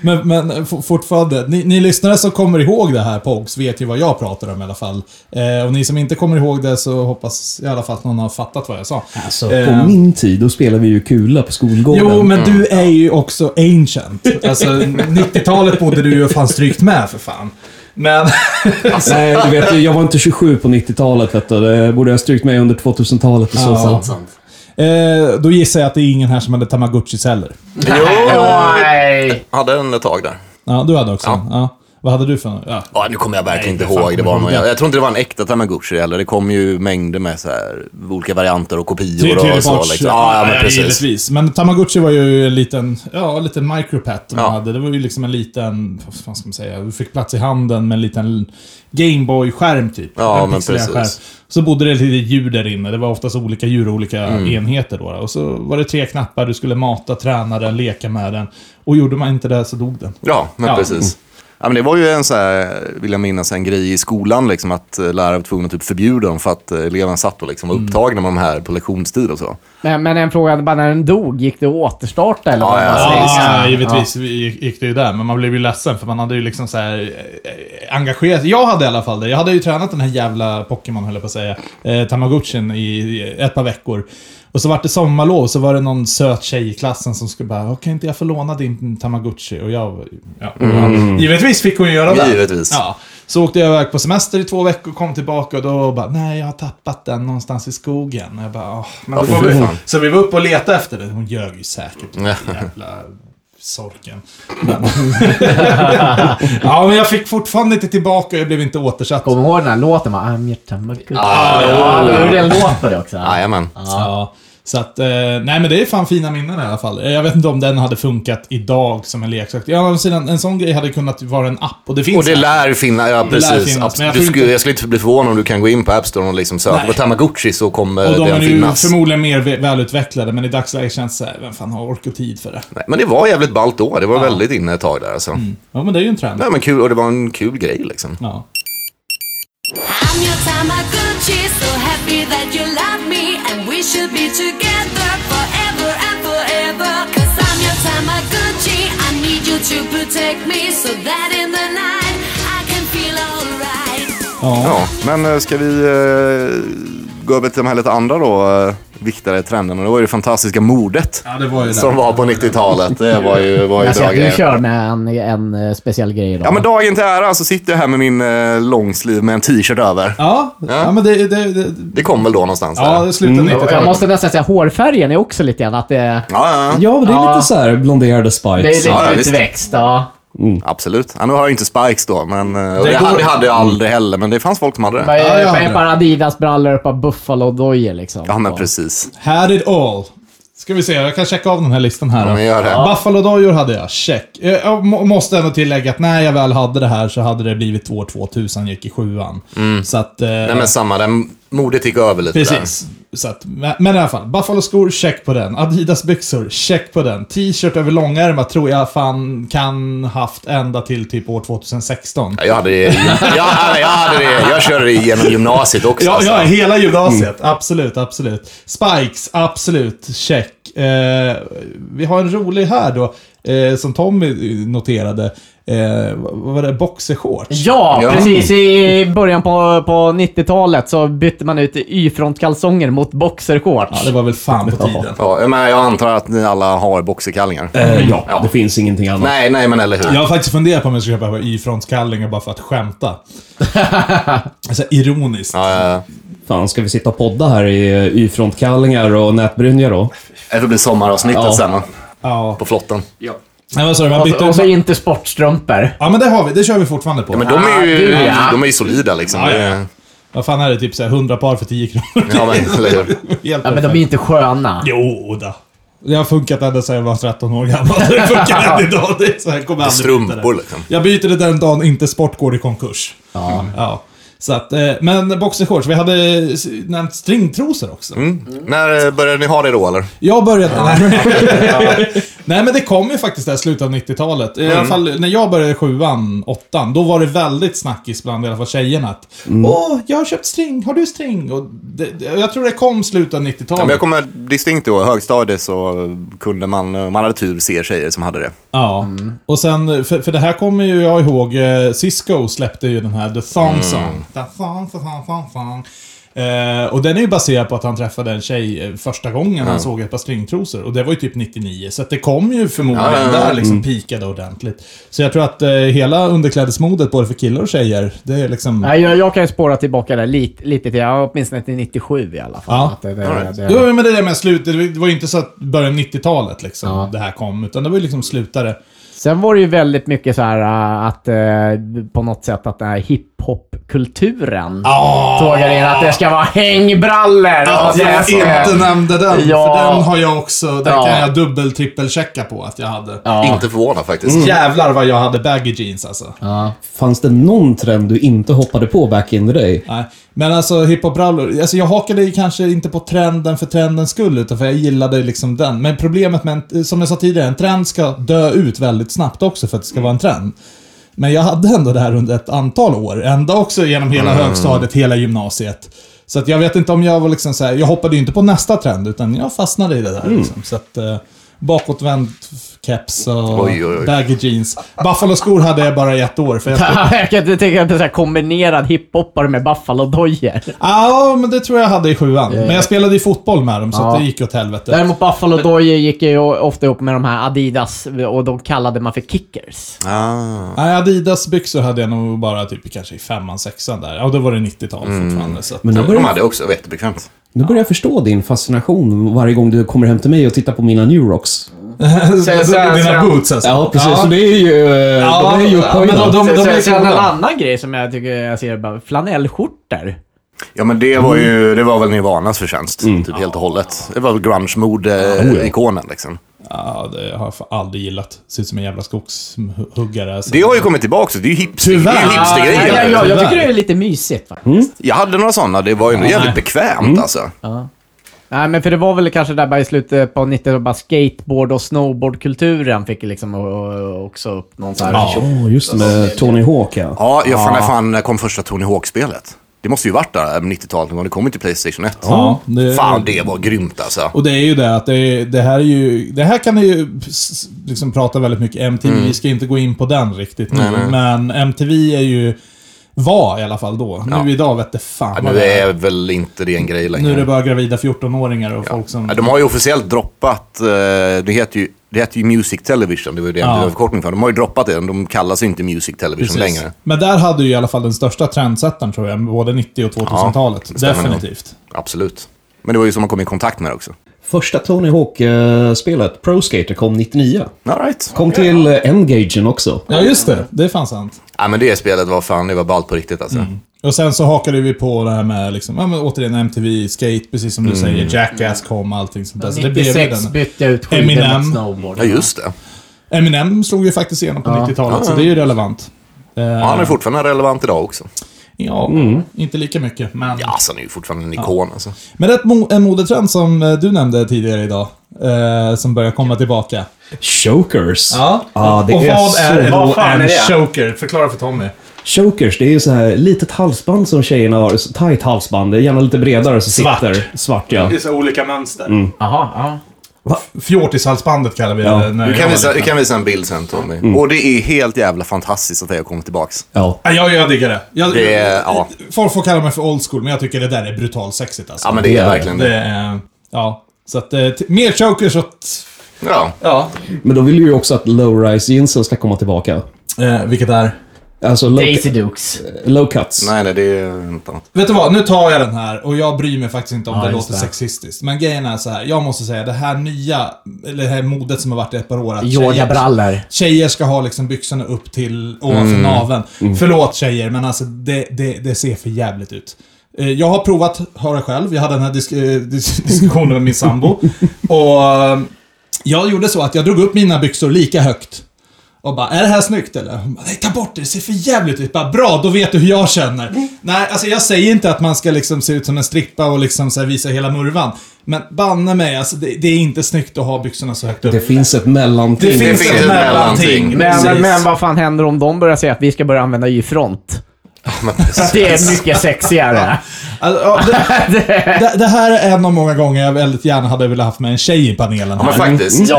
S1: men, men for- fortfarande. Ni, ni lyssnare som kommer ihåg det här Pogs vet ju vad jag pratar om i alla fall. Eh, och ni som inte kommer ihåg det så hoppas i alla fall att någon har fattat vad jag sa.
S2: Alltså,
S1: Eh.
S2: på min tid, då spelade vi ju kula på skolgården.
S1: Jo, men du är ju också ancient. Alltså, 90-talet bodde du ju fan strykt med för fan. Men...
S2: Nej, eh, du vet, jag var inte 27 på 90-talet. Vet du. Det borde jag ha strykt med under 2000-talet i så fall.
S1: Eh, då gissar jag att det är ingen här som hade Tamagotchis heller.
S4: Nej.
S3: Hade en ett tag där.
S1: Ja, du hade också. Ja.
S3: Ja.
S1: Vad hade du för något? Ja.
S3: Ja, nu kommer jag verkligen
S1: Nej,
S3: inte
S1: fan,
S3: ihåg. Det
S1: kommer
S3: var
S1: du
S3: någon,
S1: ihåg
S3: jag,
S1: det?
S3: jag tror inte det var en äkta tamagotchi heller. Det kom ju mängder med så här, olika varianter och kopior och, så.
S1: Teleports.
S3: Liksom. Ja, ja, men precis.
S1: givetvis. Men Tamagotchi var ju en liten, ja, en liten micropet man
S3: Ja.
S1: hade. Det var ju liksom en liten, vad fan ska man säga, du fick plats i handen med en liten Gameboy-skärm typ.
S3: Ja,
S1: en
S3: men
S1: pixelerad
S3: precis.
S1: Så bodde det lite djur där inne. Det var oftast olika djur och olika
S3: Mm.
S1: enheter då. Och så var det tre knappar, du skulle mata, träna den, leka med den. Och gjorde man inte det så dog den.
S3: Ja, men
S1: Ja.
S3: precis. Ja, men det var ju en så här, vill jag minnas, en grej i skolan liksom, att eh, lärare var tvungna att typ förbjuda dem för att eh, eleverna satt och liksom, var
S1: Mm.
S3: upptagna med de här på lektionstid och så.
S4: Men, men en fråga, bara när den dog, gick det att återstarta eller vad
S3: Ja,
S4: man
S3: ja,
S4: säger?
S1: Ja, givetvis gick gick det ju där. Men man blev ju ledsen för man hade ju liksom så här eh, eh, engagerat sig. Jag hade i alla fall det. Jag hade ju tränat den här jävla Pokémon, höll jag på att säga. Eh, Tamagotchin i- i ett par veckor. Och så vart det sommarlov och så var det någon söt tjej i klassen som skulle bara “Kan inte jag få låna din Tamagotchi?” Och jag... Ja, Givetvis fick hon ju göra det.
S3: Givetvis.
S1: Ja. Så åkte jag iväg på semester i två veckor, kom tillbaka och då bara “Nej, jag har tappat den någonstans i skogen”. Och jag bara "Åh, men då
S3: Ja,
S1: får
S3: fy
S1: vi,
S3: fan.
S1: Så vi var uppe och letade efter den. Hon ljög ju säkert. Jävla sorken. Men- ja, men jag fick fortfarande inte tillbaka och jag blev inte återsatt.
S4: Kommer du ihåg den här låten? Va? I'm your tamagotchi. Ja, ja, det är en låt på det också.
S3: Jajamän.
S1: Ja. Så att, eh, nej men det är fan fina minnen i alla fall. Eh, Jag vet inte om den hade funkat idag som en leksak. Ja, å andra sidan, en sån grej hade kunnat vara en app och det finns
S3: Och det
S1: här.
S3: lär finnas, ja
S1: Det lär
S3: precis.
S1: finnas,
S3: Abs-
S1: men jag
S3: du
S1: tror
S3: skulle,
S1: inte-
S3: jag skulle inte bli förvånad om du kan gå in på App Store och liksom söka
S1: Nej.
S3: på Tamagotchi så kommer
S1: Och de är
S3: den
S1: ju
S3: finnas.
S1: förmodligen mer vä- välutvecklade, men i dagsläget känns det såhär, vem fan har ork och tid för det?
S3: Nej, men det var jävligt ballt då. Det var väldigt inne ett tag där alltså.
S1: Ja, men det är ju en trend.
S3: Nej, men kul, och det var en kul grej liksom.
S1: Ja.
S5: I'm your Tamagotchi, so happy that you love me And we should be together forever and forever Cause I'm your Tamagotchi, I need you to protect me So that in the night, I can feel alright
S3: Ja, men eh, ska vi eh, gå över till de här lite andra då, eh, viktigare trenderna. Det var ju det fantastiska mordet
S1: Ja, det var ju det.
S3: som var på 90-talet. Det var ju, var
S1: Alltså,
S3: ju
S4: Alltså, Jag ser
S3: bra
S4: att du
S3: grejer.
S4: kör med en, en eh, speciell grej idag.
S3: Ja, men dagen till ära så sitter jag här med min eh, långsliv med en t-shirt över.
S1: Ja, ja. men det... det, det
S3: Det kom väl då någonstans?
S1: ja,
S3: där.
S1: det slutar
S4: jag
S1: 90-talet.
S4: måste nästan säga hårfärgen är också lite grann att det...
S3: ja, ja.
S2: Ja, men det är
S4: Ja.
S2: lite så här blonderade spikes.
S4: Det är lite
S3: ja, visst.
S4: utväxt, ja.
S3: Absolut. Ja, nu har jag inte spikes då, men eh, och
S1: Mm. Det
S3: det,
S1: går- Mm.
S3: hade, det hade jag aldrig heller. Men det fanns folk som hade det.
S4: Vad
S1: Ja,
S4: är
S1: ja.
S4: vad är ett par Adidas-brallor och ett par Buffalo-dojor liksom?
S3: Ja, men precis.
S1: Had it all. Ska vi se, jag kan checka av den här listan här.
S3: Ja,
S1: då.
S3: men gör det.
S1: Buffalo-dojor hade jag, check. Eh, Jag må- måste ändå tillägga att när jag väl hade det här så hade det blivit år 2000, gick i sjuan. Så att... eh,
S3: Mm. Nej, men samma. Den, modet gick över lite där.
S1: Precis. Så att, men men i alla fall, Buffalo-skor, check på den. Adidas-byxor, check på den. T-shirt över långärmat tror jag fan kan haft ända till typ år 2016.
S3: Ja, Jag hade det. Jag, jag hade det. Jag körde det genom gymnasiet också.
S1: Ja,
S3: alltså.
S1: ja hela gymnasiet. Absolut, absolut. Spikes, absolut. Check. Eh, vi har en rolig här då. eh, som Tommy noterade, eh, vad vad var det, boxershorts?
S4: Ja,
S3: Ja.
S4: precis. I början på, på 90-talet så bytte man ut Y-frontkalsonger mot boxershorts.
S1: Ja, det var väl fan på tiden.
S3: Ja, jag, menar, jag antar att ni alla har boxerkallingar.
S2: Eh, ja, det finns ingenting annat.
S3: Nej, nej, men eller hur.
S1: Jag har faktiskt funderat på om jag ska köpa Y-frontskallingar bara för att skämta. alltså ironiskt.
S3: Ja,
S2: Fan, ska vi sitta och podda här i eh, Y-frontkallingar och nätbrynja då?
S3: ja. Det blir sommaravsnittet
S2: Ja.
S3: sen va?
S1: Ja.
S3: på flotten.
S1: Nej, vad sa du? Man
S4: Och, så- och så
S1: bytte...
S4: inte sportstrumpor.
S1: Ja, men det har vi. Det kör vi fortfarande på.
S3: Men de är ju,
S4: Ah, du, ja.
S3: de är ju solida liksom.
S1: Ja,
S3: Ja,
S1: ja.
S3: ja.
S1: Vad fan är det? Typ så här 100 par för 10 kronor.
S3: men, eller hur?
S1: Helt
S4: Ja, men de är
S1: perfekt.
S4: inte sköna.
S1: Jo, då. Det har funkat ända sedan jag var 13 år gammal. Det funkar än idag. Det är så här, jag kommer aldrig byta
S3: Strumpor
S1: det.
S3: liksom.
S1: Jag byter det den dagen inte sport går i konkurs. Ja. ja. Så att, eh, men boxershorts. Vi hade eh, nämnt stringtrosor också.
S3: När eh, började ni ha det då eller?
S1: Jag började... Nej, men det kom ju faktiskt där i slutet av 90-talet. I
S3: Mm.
S1: alla fall när jag började sjuan, åttan, då var det väldigt snackis bland i alla fall tjejerna att
S3: Mm.
S1: Åh, jag har köpt string, har du string? Och det, det, jag tror det kom slutet av
S3: Ja, men
S1: 90-talet.
S3: jag kommer distinkt ihåg, högstadiet så kunde man, eh, man hade tur, se tjejer som hade det.
S1: Ja,
S4: Mm.
S1: och sen, för, för det här kommer ju jag ihåg, eh, Cisco släppte ju den här The
S3: Mm.
S1: Thong Song. The thong, thong, thong, thong, thong. Eh, och den är ju baserad på att han träffade en tjej eh, första gången
S3: Mm.
S1: han såg ett par stringtrosor. Och det var ju typ 99, så att det kom ju förmodligen
S3: Ja, Mm. ja, ja.
S1: där liksom pikade ordentligt. Så jag tror att eh, hela underklädesmodet, både för killar och tjejer, det är liksom...
S4: Nej, jag, jag kan ju spåra tillbaka där lite, lite till, ja, åtminstone till 97 i alla fall.
S1: Ja.
S4: Att det, det,
S3: Alright.
S4: det,
S1: Jo, men det är det med slutet. Det var ju inte så att början av 90-talet liksom, det här kom, utan det var ju liksom slutare.
S4: Sen var det ju väldigt mycket så här äh, att eh, på något sätt att den här hiphop-kulturen tågar in. Att det ska vara hängbrallor. och det
S1: Ah. Att
S4: ska-
S1: jag inte nämnde den,
S4: Ja.
S1: för den har jag också, den
S4: Ja.
S1: kan jag dubbel trippelchecka på att jag hade.
S4: ja.
S3: Inte förvånad faktiskt.
S1: Jävlar vad jag hade baggy jeans alltså.
S2: Fanns det någon trend du inte hoppade på back in the day?
S1: Nej. Men alltså hiphop-brallor, alltså jag hakade ju kanske inte på trenden för trendens skull, utan för jag gillade liksom den. Men problemet med, en, som jag sa tidigare, en trend ska dö ut väldigt snabbt också för att det
S3: Mm.
S1: ska vara en trend. Men jag hade ändå det här under ett antal år, ända också genom hela
S3: Mm.
S1: högstadiet, hela gymnasiet. Så att jag vet inte om jag var liksom så här, jag hoppade ju inte på nästa trend, utan jag fastnade i det där
S3: Mm.
S1: liksom. Så att, eh, bakåtvänd keps och
S3: Oj, oj, oj.
S1: baggy jeans. Buffalo-skor hade jag bara i ett år, för jag
S4: Jag kan inte tänka mig att det är så här kombinerad hiphoppare med buffalo-dojor.
S1: Ja, men det tror jag hade i sjuan. Men jag spelade ju fotboll med dem, så att
S4: Ja.
S1: det gick åt helvete.
S4: Däremot buffalo-dojor gick ju ofta ihop med de här Adidas och de kallade man för kickers.
S3: Ah.
S1: Nej, Adidas-byxor hade jag nog bara typ kanske i femman, sexan där. Ja, då var det 90-tal
S4: Mm.
S1: fortfarande. Så att,
S2: Men nu börjar,
S3: De hade också jättebekvämt.
S2: nu börjar jag förstå din fascination varje gång du kommer hem till mig och tittar på mina New Rocks.
S4: Sen- sen-
S1: Dina
S4: sen-
S1: boots alltså.
S2: Så det är ju... Ja,
S1: de är ju upphöjda.
S2: men
S1: de- de
S4: Sen-
S1: är
S4: sen- sen en
S1: coola.
S4: annan grej som jag tycker jag ser, bara flanellskjortor.
S3: Ja, men det var ju det var väl Nirvanas förtjänst, typ helt och hållet. Det var väl grunge-mode-ikonen liksom.
S1: Ja, det har jag fan aldrig gillat. Ser ut som en jävla skogshuggare. Alltså.
S3: Det har ju kommit tillbaka också, det är ju hipster, det är Mm.
S1: Tyvärr.
S4: Ja,
S3: hipstergrejen.
S4: ja, ja, jag
S1: Tyvärr.
S4: tycker det är lite mysigt faktiskt.
S3: Jag hade några sådana, det var ju jävligt bekvämt alltså.
S4: Nej, men för det var väl kanske där bara i slutet på 90-talet, bara skateboard och snowboardkulturen fick liksom o- o- också upp någon sån här...
S1: Ja.
S2: just det, med Tony Hawk ja.
S3: Ja, jag fan, när fan kom första Tony Hawk-spelet? Det måste ju varit där, 90-talet, någon gång. det kom ju till Playstation 1.
S1: Ja, det-
S3: Fan, det var grymt alltså.
S1: Och det är ju det att det, det här är ju... Det här kan ni ju s- s- liksom prata väldigt mycket MTV.
S3: Mm.
S1: Vi ska inte gå in på den riktigt nu, men MTV är ju... Var i alla fall då.
S3: Ja.
S1: Nu idag vet det fan
S3: Ja,
S1: vad
S3: nu är väl inte det en grej längre.
S1: Nu är det bara gravida 14-åringar och folk som...
S3: Ja, de har ju officiellt droppat, eh, det heter ju, det heter ju Music Television, det var ju det
S1: Ja.
S3: det var förkortning för. De har ju droppat det, de kallas ju inte Music Television
S1: Precis.
S3: längre.
S1: Men där hade ju i alla fall den största trendsättaren tror jag, både 90 och 2000-talet.
S3: det stämmer nog.
S1: Definitivt.
S3: Absolut. Men det var ju som man kom i kontakt med det också.
S2: Första Tony Hawk-spelet, Pro Skater, kom 99.
S3: All right.
S2: Kom till eh, N-gagen också.
S1: Ja, just det. Det är fan sant.
S3: Ja, men det spelet var fan, det var ballt på riktigt alltså.
S1: Och sen så hakade vi på det här med, liksom, ja, men återigen MTV, Skate, precis
S3: Mm.
S1: som du säger, Jackass kom, allting sånt där.
S4: Alltså,
S1: Så det blev ju
S4: 96
S1: den.
S4: bytte jag ut skidor
S1: Eminem.
S4: mot snowboard.
S3: Ja, just det.
S1: Eminem slog ju faktiskt igenom på 90-talet, så det är ju relevant.
S3: Och han är fortfarande relevant idag också.
S1: Ja,
S2: Mm.
S1: inte lika mycket, men...
S3: Ja, alltså, han är ju fortfarande en ikon alltså.
S1: Men det är ett mo- en modetrend som eh, du nämnde tidigare idag, eh, som börjar komma tillbaka.
S2: Chokers.
S1: Ja.
S2: Ja, det
S1: och
S2: är
S1: vad
S2: så
S1: är
S4: vad fan
S1: en
S4: är det?
S1: choker? Förklara för Tommy.
S2: Chokers, det är ju så här litet halsband som tjejerna har. Så Tight halsband, det är gärna lite bredare. Så
S1: Svart.
S3: Mm.
S2: Sitter. Svart, ja.
S1: så olika mönster.
S4: Jaha, ja.
S2: Mm. Va?
S1: Fjortishalsbandet kallar vi det.
S2: Ja.
S1: när
S3: Du
S1: jag
S3: kan, visa,
S1: var
S3: du
S1: liten.
S3: kan visa en bild sen Tommy. Och det är helt jävla fantastiskt att det har kommit tillbaks.
S2: Ja.
S1: Ja, jag, jag diggar det. Jag,
S3: Det är- ja.
S1: Folk får kalla mig för old school, men jag tycker det där är brutalt sexigt alltså.
S3: Ja men det
S2: det
S3: är
S2: är
S3: verkligen det.
S1: Det är, ja. Så att, eh, t- mer chokers åt...
S3: Ja.
S1: Ja.
S2: Men då vill ju också att low-rise jeansen ska komma tillbaka.
S1: Eh, vilket är...
S2: Alltså low,
S4: Daisy Dukes.
S2: low cuts.
S3: Nej, nej, det är något annat.
S1: Vet du vad, nu tar jag den här och jag bryr mig faktiskt inte om
S4: Ja,
S1: det
S4: just
S1: låter
S4: det.
S1: sexistiskt. Men grejen är så här, jag måste säga det här nya, eller det här modet som har varit i ett par år. att tjejer-
S4: Yoga-brallor.
S1: Tjejer ska ha liksom byxorna upp till ovanför
S4: Mm.
S1: naveln. Förlåt tjejer, men alltså det, det, det ser för jävligt ut. Eh, Jag har provat, hör jag själv, jag hade den här disk, eh, dis, diskussionen med min sambo. Och eh, jag gjorde så att jag drog upp mina byxor lika högt. Och bara, är det här snyggt eller? Hon bara, nej ta bort det, det ser för jävligt ut. Bara, bra, då vet du hur jag känner. Nej, alltså jag säger inte att man ska liksom se ut som en strippa och liksom så här visa hela murvan. Men banne mig, alltså det, det är inte snyggt att ha byxorna så högt upp.
S2: Det finns ett mellanting.
S1: Det finns
S3: finns
S1: ett
S3: ett
S1: mellanting.
S3: mellanting.
S4: Men,
S1: Precis.
S4: men vad fan händer om de börjar säga att vi ska börja använda Y-front? Det är mycket sexigare.
S1: Alltså, ja, det, det, det här är en av många gånger jag väldigt gärna hade velat haft med en tjej i panelen.
S3: Ja, men
S1: här.
S3: faktiskt.
S1: Eh,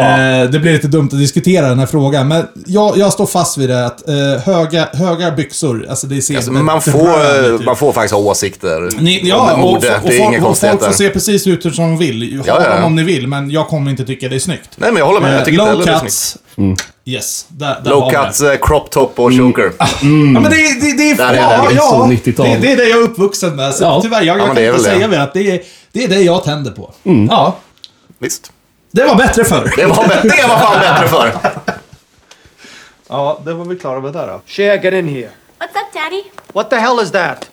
S1: Det blir lite dumt att diskutera den här frågan, men jag, jag står fast vid det att eh, höga, höga byxor, alltså det ser...
S3: Alltså,
S1: det-
S3: man,
S1: det
S3: får,
S1: rör ut.
S3: man får faktiskt ha åsikter
S1: Ni,
S3: om
S1: ja, och, och,
S3: mode. det är inga
S1: folk, och folk får
S3: konstigheter.
S1: se precis ut hur som de vill. Ha
S3: Ja, ja, ja.
S1: dem om ni vill, men jag kommer inte tycka det är snyggt.
S3: Nej, men jag håller med. Jag
S1: Eh,
S3: tycker inte
S1: Low
S3: heller det är snyggt.
S1: cuts.
S2: Mm.
S1: Yes, där, där
S3: Low
S1: har vi det.
S3: cuts, eh, crop top och choker.
S1: Ja, men det, det, det är...
S3: Där är
S1: ja,
S3: den,
S2: Mm. så
S1: ja,
S2: 90-tal.
S1: det, det är det jag är uppvuxen med. Så
S2: Ja.
S1: tyvärr, jag,
S3: men
S1: jag kan
S3: det är
S1: inte
S3: väl det.
S1: säga mer att det är, det är det jag tänder på.
S2: Mm.
S1: Ja.
S3: Visst.
S1: Det var bättre förr.
S3: Det var, bä- det var fan bättre förr.
S1: Ja, det var vi klara med där då.
S9: Cher, get in here.
S5: What's up, Daddy?
S9: What the hell is that?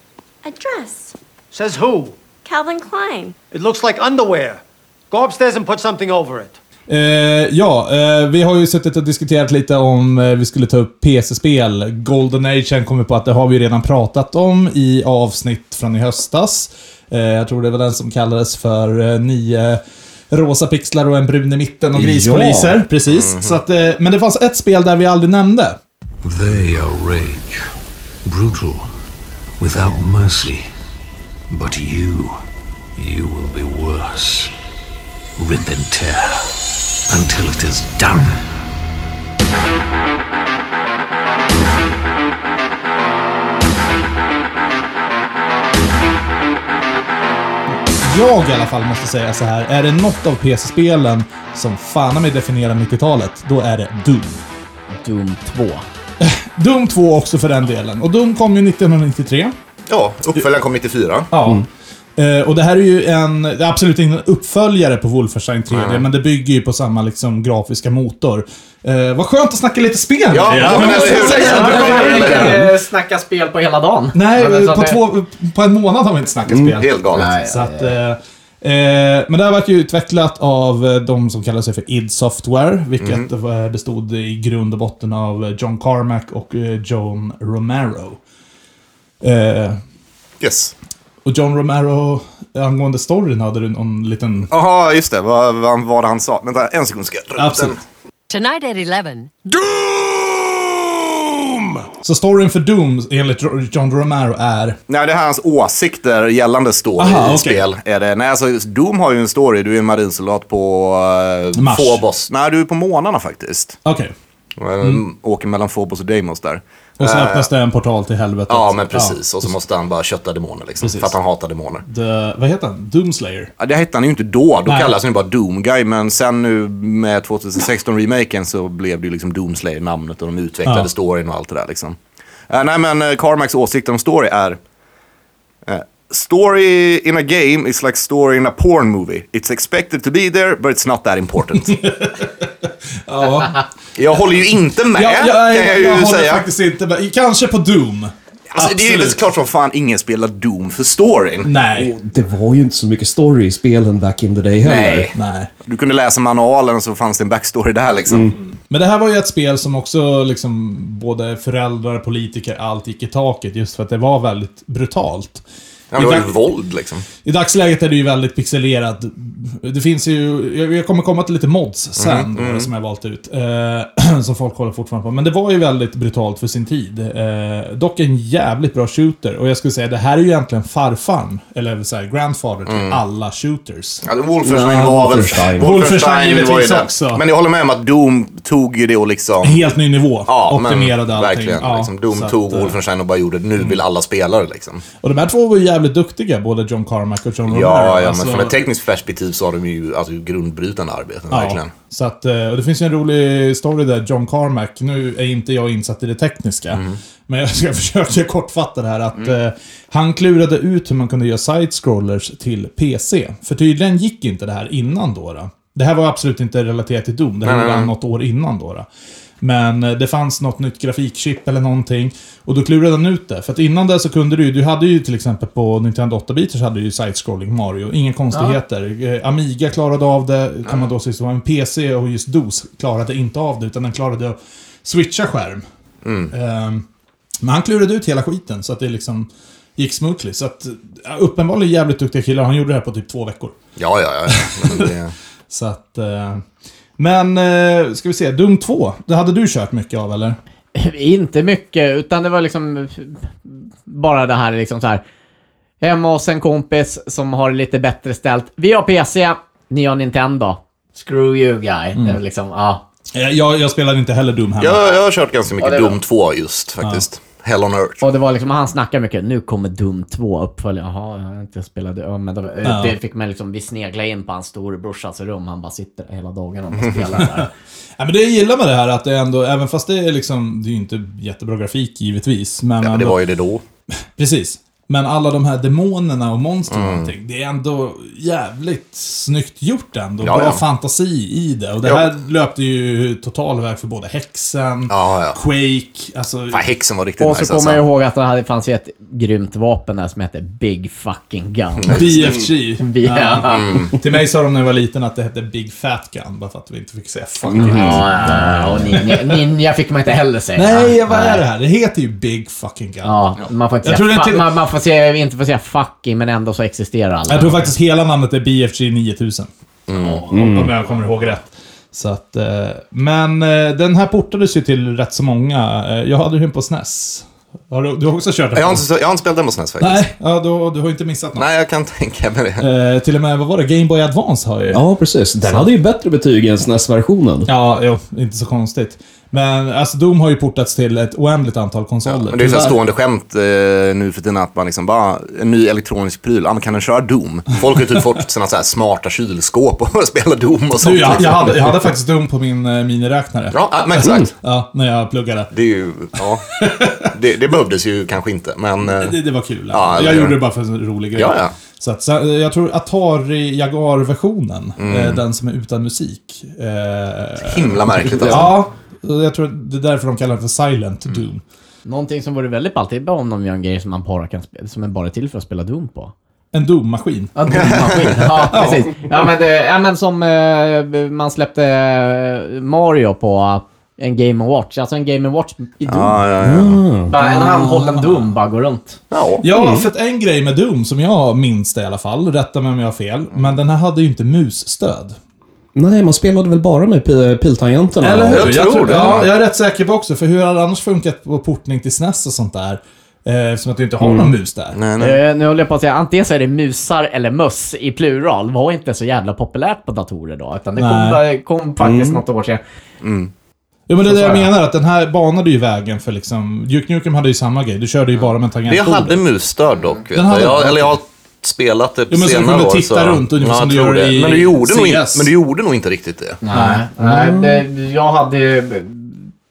S5: A dress.
S9: Says who?
S5: Calvin Klein.
S9: It looks like underwear. Go upstairs and put something over it.
S1: Eh, ja, eh, vi har ju suttit och diskuterat lite om eh, vi skulle ta upp PC-spel. Golden Age kommer på att det har vi ju redan pratat om i avsnitt från i höstas. Eh, jag tror det var den som kallades för eh, nio rosa pixlar och en brun i mitten och grispoliser. Precis. Så att, eh, men det fanns ett spel där vi aldrig nämnde.
S10: They are rage, brutal, without mercy. But you, you will be worse. Rip and tear until it is done.
S1: Jag i alla fall måste säga så här. Är det något av PC-spelen som fan i mig definierar 90-talet, då är det Doom.
S4: Doom 2.
S1: Doom 2 också för den delen. Och Doom kom ju 1993.
S3: Ja, uppföljaren kom 94.
S1: Ja. Eh, och det här är ju en, det är absolut ingen uppföljare på Wolfenstein 3D, men det bygger ju på samma liksom, grafiska motor. Eh, vad skönt att snacka lite spel med
S3: Ja,
S1: er.
S3: ja, men
S1: Det måste
S3: eller
S1: jag
S3: hur?
S1: säga.
S3: Ja, men-
S4: snacka spel på hela dagen.
S1: Nej,
S4: Men
S1: eh,
S4: så att
S1: på,
S4: det-
S1: två, på en månad har vi inte snackat spel.
S3: Helt galet.
S1: Så att, eh, eh, men det här vart ju utvecklat av eh, de som kallar sig för id Software, vilket
S3: Mm.
S1: eh, bestod i grund och botten av eh, John Carmack och eh, John Romero. Eh,
S3: Yes.
S1: och John Romero, eh, angående storyn, hade du någon liten...
S3: Jaha, just det. Vad vad vad var det han sa? Vänta, en sekund ska jag dra upp
S1: Absolut.
S3: den.
S5: Tonight at 11.
S3: Doom!
S1: Så storyn för Doom, enligt Ro- John Romero, är...
S3: Nej, det här är hans åsikter gällande story
S1: Aha,
S3: i
S1: okej.
S3: spel. Är det. Nej, alltså, Doom har ju en story. Du är en marinsoldat på eh,
S1: Mars.
S3: Phobos. Nej, du är på månarna faktiskt.
S1: Okej.
S3: Eh, Åker mellan Phobos och Deimos där.
S1: Och så
S3: Eh,
S1: öppnas det en portal till helvetet.
S3: Ja, men precis. Och så måste han bara kötta demoner liksom.
S1: Precis.
S3: För att han hatar demoner.
S1: The, vad heter han? Doomslayer.
S3: Ja, det hette han ju inte då. Då
S1: Nej.
S3: kallades han ju bara Doom Guy. Men sen nu med 2016-remaken så blev det ju liksom Doomslayer namnet och de utvecklade
S1: Ja.
S3: storyn och allt det där liksom. Eh, nej, men uh, Carmacks åsikter om story är... eh, story in a game is like story in a porn movie. It's expected to be there, but it's not that important.
S1: Ja,
S3: jag håller ju inte med,
S1: jag, jag,
S3: kan jag
S1: jag,
S3: ju
S1: håller
S3: säga.
S1: faktiskt inte med. Kanske på Doom.
S3: Alltså, det är ju
S1: Absolut.
S3: väl klart som fan ingen spelar Doom för storyn.
S1: Nej.
S2: Det var ju inte så mycket story i spelen back in the day heller.
S3: Nej.
S1: Nej.
S3: Du kunde läsa manualen så fanns det en backstory där liksom.
S1: Men det här var ju ett spel som också liksom både föräldrar, politiker, allt gick i taket just för att det var väldigt brutalt.
S3: Ja, det var ju
S1: Tack.
S3: våld liksom.
S1: I dagsläget är det ju väldigt pixelerat. Det finns ju... jag- Jag kommer komma till lite mods sen,
S3: Mm, mm.
S1: eh, som jag valt ut. Eh, som folk håller fortfarande på Men det var ju väldigt brutalt för sin tid. Eh, dock en jävligt bra shooter. Och jag skulle säga, det här är ju egentligen farfarn, eller så här, grandfather till
S3: Mm.
S1: alla shooters.
S3: Ja, det- Wolfenstein
S1: Ja,
S3: var väl...
S1: Wolfenstein. Wolfenstein
S3: Wolfenstein var ju
S1: givetvis
S3: det.
S1: också.
S3: Men jag håller med om att Doom tog ju det och liksom...
S1: En helt ny nivå.
S3: Ja, men
S1: Optimerade allting.
S3: Verkligen.
S1: Ja,
S3: liksom, Doom
S1: så att,
S3: tog
S1: eh,
S3: Wolfenstein och bara gjorde det. Nu vill alla spela det liksom.
S1: Och de här två var ju jävligt duktiga, både John Carmack och John Romero.
S3: Ja, ja
S1: Alltså-
S3: men från ett tekniskt perspektiv så har de ju alltså, grundbrytande arbeten, verkligen.
S1: Så att, eh, och det finns ju en rolig story där, John Carmack. Nu är inte jag insatt i det tekniska.
S3: Mhm.
S1: Men jag ska försöka kortfatta det här. Att,
S3: Mm.
S1: eh, han klurade ut hur man kunde göra side-scrollers till PC. För tydligen gick inte det här innan då. då. Det här var absolut inte relaterat till Doom. Det här
S3: Nej,
S1: var
S3: nej, nej.
S1: något år innan då. då. Men eh, det fanns något nytt grafikchip eller någonting. Och då klurade han ut det. För att innan det så kunde du ju, du hade ju till exempel på Nintendo 8-bitar så hade du ju side-scrolling Mario. Inga konstigheter. Eh, Amiga klarade av det, kan man då säga. Men PC och just DOS klarade inte av det, utan den klarade att switcha skärm. Ehm, men han klurade ut hela skiten så att det liksom gick smoothly. Så att, ja, uppenbarligen jävligt duktiga killar. Han gjorde det här på typ två veckor.
S3: Ja, ja, ja. Men det...
S1: Så att... eh, Men, eh, ska vi se. Doom 2, det hade du kört mycket av eller?
S4: Inte mycket, utan det var liksom bara det här liksom så här. Hemma hos en kompis som har det lite bättre ställt. Vi har PC, ni har Nintendo. Screw you guy. Det är liksom, ja.
S1: Eh, Jag, jag spelade inte heller Doom hemma.
S3: jag, jag har kört ganska mycket
S4: Ja, det är
S3: Doom
S4: bra.
S3: 2 just, faktiskt. Hell on Earth.
S4: Och det var liksom, han snackar mycket. Nu kommer Doom 2 uppföljare. Jaha, jag har inte spelat det. Ja, men det,
S1: Ja.
S4: det fick man liksom, vi sneglade in på hans storebrorsas rum. Han bara sitter hela dagen och bara spelar där.
S1: Ja, men det jag gillar med det här är att det ändå, även fast det är liksom, det är ju inte jättebra grafik givetvis. Men,
S3: Ja, men det
S1: ändå-
S3: var ju Mm. det då.
S1: Precis. Men alla de här demonerna och monstren och allting, det är ändå jävligt snyggt gjort ändå.
S3: Ja,
S1: Bra
S3: ja.
S1: fantasi i det. Och det
S3: Ja.
S1: här löpte ju total väg för både häxan,
S3: Ja, ja.
S1: Quake, alltså...
S3: Fan, häxan var riktigt
S4: och
S3: nice
S4: så kommer jag
S3: alltså.
S4: ihåg att det hade, fanns ju ett grymt vapen där som hette Big fucking gun.
S1: BFG.
S4: Ja.
S1: Ja. Till mig sa de när jag var liten att det hette Big Fat Gun, bara för att vi inte fick säga fuck
S4: Mm.
S1: it.
S4: Ja, ja, och ninja, ninja fick man inte heller säga.
S1: Nej, vad är det här? Det heter ju Big fucking Gun.
S4: Ja, man får inte
S1: Jag
S4: säga,
S1: tror det
S4: fa-
S1: till-
S4: man, man får säga, inte får säga fucking, men ändå så existerar alla.
S1: Jag tror faktiskt hela namnet är BFG 9000.
S3: Mm.
S1: Om- Om jag kommer ihåg rätt. Så att, eh, men eh, den här portades ju till rätt så många. Eh, Jag hade ju den på SNES. Har du, du har också kört den?
S3: Jag har inte, jag har inte spelat den på SNES faktiskt.
S1: Nej, ja, då, du har inte missat något.
S3: Nej, jag kan tänka mig det.
S1: Eh, till och med, vad var det? Game Boy Advance har ju...
S2: Ja, precis. Den hade ju bättre betyg än E SNES-versionen.
S1: Ja, jo, inte så konstigt. Men alltså Doom har ju portats till ett oändligt antal konsoler.
S3: Men det är ju så här
S1: Tyvärr.
S3: stående skämt eh, nu för tiden att man liksom bara, en ny elektronisk pryl, ah, men kan den köra Doom? Folk har typ fått såna så här smarta kylskåp och spelar Doom och sånt.
S1: Du, jag, jag,
S3: liksom.
S1: hade, jag hade faktiskt Doom på min eh, miniräknare.
S3: Ja, ah, men exakt.
S1: Ja, när jag pluggade.
S3: Det är ju, ja. Det, det behövdes ju kanske inte, men... eh,
S1: Det, det var kul.
S3: Ja,
S1: jag
S3: det-
S1: gjorde det bara för en rolig grej.
S3: Ja, ja.
S1: Så att, så, eh, jag tror Atari Jaguar-versionen,
S3: Mm.
S1: eh, den som är utan musik. Eh,
S3: Himla märkligt alltså. Mm.
S1: Ja, och jag tror att det är därför de kallar den för Silent Doom.
S4: Någonting som vore väldigt ballt, det är bara om de gör en grej som man bara kan spela, som är bara till för att spela Doom på.
S1: En Doom-maskin.
S4: Ja, Doom-maskin. ja, precis. Ja, men, det, ja, men som eh, man släppte eh, Mario på eh, en Game Watch, alltså en Game Watch i Doom.
S3: Ja, ja, ja.
S4: Bara en handhållen Doom bara går runt.
S3: ja.
S1: Ja, för att en grej med Doom, som jag minns det i alla fall, rätta mig om jag har fel,
S3: Mm.
S1: men den här hade ju inte musstöd.
S2: Nej, man spelade väl bara med pi- piltangenterna?
S1: Eller hur?
S3: jag tror det.
S1: Ja, jag är rätt säker på också, för hur hade det annars funkat på portning till SNES och sånt där? Eh, Eftersom att du inte har någon mus där.
S3: Mm. Nej, nej.
S4: Eh, nu håller jag på att säga, antingen så är det musar eller möss i plural. var inte så jävla populärt på datorer då, utan det kom,
S1: Nej. Mm.
S4: kom faktiskt något år sedan.
S1: Ja, men det är det jag
S4: Så här.
S1: menar, att den här banade ju vägen för liksom... Duke Nukem hade ju samma grej, du körde ju bara med
S3: Det jag
S1: tangentbordet.
S3: hade musstöd dock. Vet
S1: Den hade
S3: du. jag,
S1: den.
S3: eller jag har spelat det på
S1: Jo, men så
S3: senare
S1: kunde
S3: år.
S1: titta runt ungefär
S3: Ja,
S1: som
S3: jag
S1: du
S3: tror
S1: gör
S3: det.
S1: i
S3: men, du gjorde nog, in-
S1: CS.
S3: men du gjorde nog inte riktigt det.
S4: Nej, nej
S1: Mm.
S4: det, jag hade ju-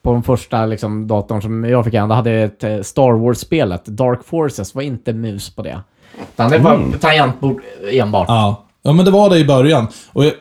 S4: på den första liksom, datorn som jag fick ändå hade jag ett eh, Star Wars-spelet, Dark Forces, var inte mus på det. Utan det var tangentbord enbart.
S1: Mm. Ja. ja, men det var det i början. Och jag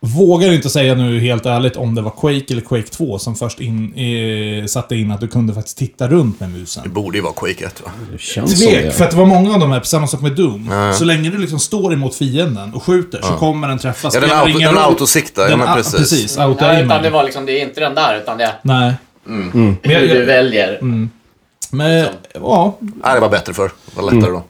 S1: vågar inte säga nu helt ärligt om det var Quake eller Quake 2 som först in, eh, satte in att du kunde faktiskt titta runt med
S3: Det
S1: musen.
S3: borde ju vara Quake 1 va?
S2: Det känns som
S1: Tvek,
S2: det.
S1: för att det var många av de här, samma sak med Doom. Så länge du liksom står emot fienden och skjuter så kommer den träffas.
S3: Ja, den
S1: Spelar
S3: auto-
S1: ingen
S3: den
S1: roll.
S3: autosiktar, ja,
S1: Den
S3: men
S1: a-
S3: precis.
S1: precis
S4: Nej, utan det
S1: auto-aimar.
S4: var liksom, det är inte den där, utan det är
S1: Nej. Men,
S3: Mm.
S4: hur du
S1: jag- Mm.
S4: väljer.
S1: men, ja, Mm.
S3: Nej, det var bättre för Det var lättare då.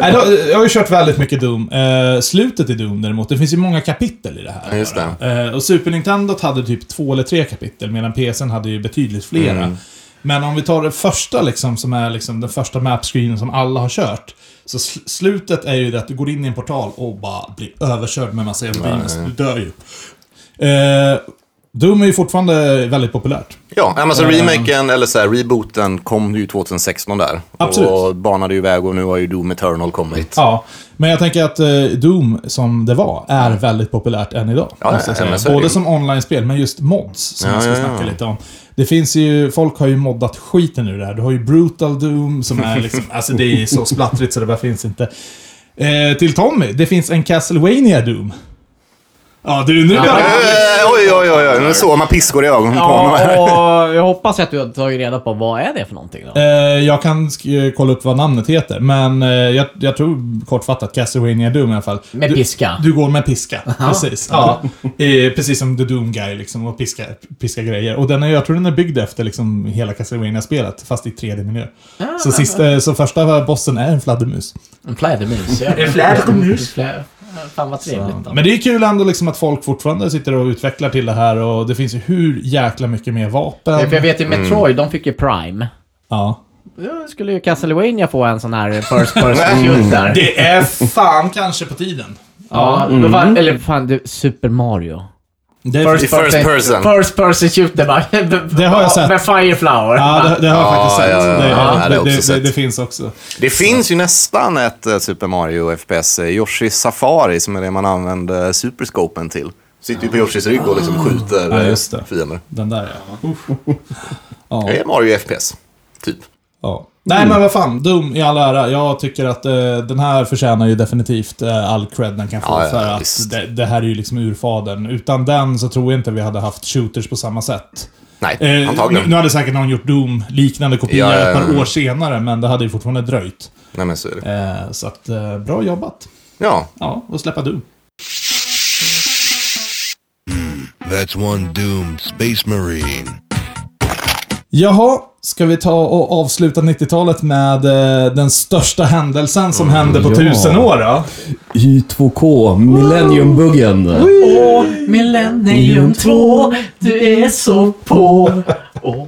S1: Nej, då, jag har ju kört väldigt mycket Doom. Eh, slutet i Doom däremot, det finns ju många kapitel i det här.
S3: Just det.
S1: Eh, och Super Nintendo hade typ två eller tre kapitel, medan PSN hade ju betydligt flera.
S3: Mm.
S1: Men om vi tar det första, liksom, som är liksom den första mapscreenen som alla har kört. Så sl- slutet är ju det att du går in i en portal och bara blir överkörd med massa eldrimers.
S3: Nej.
S1: Du dör ju. Eh, Doom är ju fortfarande väldigt populärt.
S3: Ja, nej, men så
S1: Ehm.
S3: remaken, eller så här, rebooten, kom ju 2016 där.
S1: Absolut.
S3: Och banade ju väg och nu har ju Doom Eternal kommit.
S1: Ja, men jag tänker att eh, Doom, som det var, är väldigt populärt än idag.
S3: Mm. Ja,
S1: måste jag
S3: ja, men så är
S1: säga.
S3: det
S1: Både
S3: ju.
S1: som online-spel, men just mods, som
S3: Ja,
S1: jag ska
S3: ja,
S1: snacka
S3: ja.
S1: lite om. Det finns ju, folk har ju moddat skiten ur det här. Du har ju Brutal Doom, som är liksom, alltså det är så splattrigt så det bara finns inte. Eh, till Tommy, det finns en Castlevania Doom. Ja, du, nu börjar
S3: Eh, oj, oj, oj, oj, nu såg man piskor i ögonen på honom. här.
S4: Ja, och jag hoppas att du har tagit reda på vad är det för någonting då?
S1: Eh, jag kan sk- kolla upp vad namnet heter, men eh, jag, jag tror kortfattat Castlevania Doom i alla fall.
S4: Med
S1: du,
S4: piska?
S1: Du går med piska, precis. Ja. Eh, precis som The Doom Guy liksom, och piska, piska grejer. Och den är, jag tror den är byggd efter liksom, hela Castlevania-spelet, fast i 3D-miljö.
S4: Ah.
S1: Så, sista, eh, så första bossen är en fladdermus.
S4: En flädermus. ja.
S1: En flädermus.
S4: Flä- Fan vad trevligt. Då.
S1: Men det är kul ändå liksom att folk fortfarande sitter och utvecklar till det här och det finns ju hur jäkla mycket mer vapen.
S4: För jag vet
S1: Mm.
S4: ju Metroid, de fick ju Prime.
S1: Ja.
S4: Då skulle ju Castlevania få en sån här first person shooter.
S1: Mm. Det är fan kanske på tiden.
S4: Ja, men
S1: Mm.
S4: fan, eller fan, du, Super Mario.
S1: Det är
S3: I first person.
S4: First person shooter bara.
S1: Det har jag sett.
S4: Med Fireflower.
S1: Ja, det, det har jag
S3: Ja,
S1: faktiskt sett.
S3: ja, ja,
S1: det,
S3: ja, det har
S1: det,
S3: jag
S1: det,
S3: också
S1: det,
S3: sett.
S1: det finns också.
S3: Det finns ju nästan ett eh, Super Mario FPS. eh, Yoshi Safari, som är det man använder superscopen till. Sitter ju på Yoshis rygg och liksom skjuter
S1: Ja,
S3: eh,
S1: just det.
S3: fiender.
S1: Den där ja. Uff. ja.
S3: Det är Mario FPS, typ.
S1: ja. Nej men vad fan, Doom i all ära. Jag tycker att eh, den här förtjänar ju definitivt eh, all cred den kan få.
S3: Ja, ja,
S1: för att
S3: visst.
S1: det, det här är ju liksom urfadern. Utan den så tror jag inte vi hade haft shooters på samma sätt.
S3: Nej,
S1: Eh, nu,
S3: antagligen.
S1: nu hade säkert någon gjort Doom-liknande kopior
S3: Ja, ja, ja.
S1: ett par år senare, men det hade ju fortfarande dröjt.
S3: Nej, men så är det.
S1: Eh, så att, eh, bra jobbat.
S3: Ja,
S1: Ja, och släppa Doom.
S10: That's one doomed space marine.
S1: Jaha, ska vi ta och avsluta 90-talet med eh, den största händelsen som hände på
S2: ja.
S1: tusen år då?
S2: Y2K, Millennium-buggen.
S4: Åh, Millennium 2, du är så på. Åh, åh,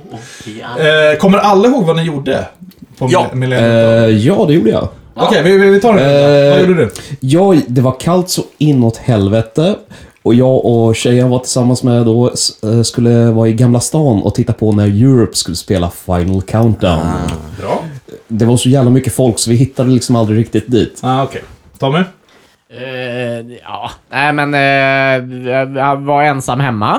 S4: ja.
S1: Eh, kommer alla ihåg vad ni gjorde? På
S3: Ja.
S1: mille- millennium?
S2: Eh, ja, det gjorde jag.
S1: Okej, vi, vi, vi tar det.
S2: Eh,
S1: vad gjorde du?
S2: Jag, det var kallt så inåt helvete. Och jag och tjejen var tillsammans med då s- eh, skulle vara i Gamla stan och titta på när Europe skulle spela Final Countdown.
S1: Ah, Bra.
S2: Det var så jävla mycket folk så vi hittade liksom aldrig riktigt dit.
S1: Ah, Okej. Tommy?
S4: Eh, ja, nej men eh, jag- jag var ensam hemma.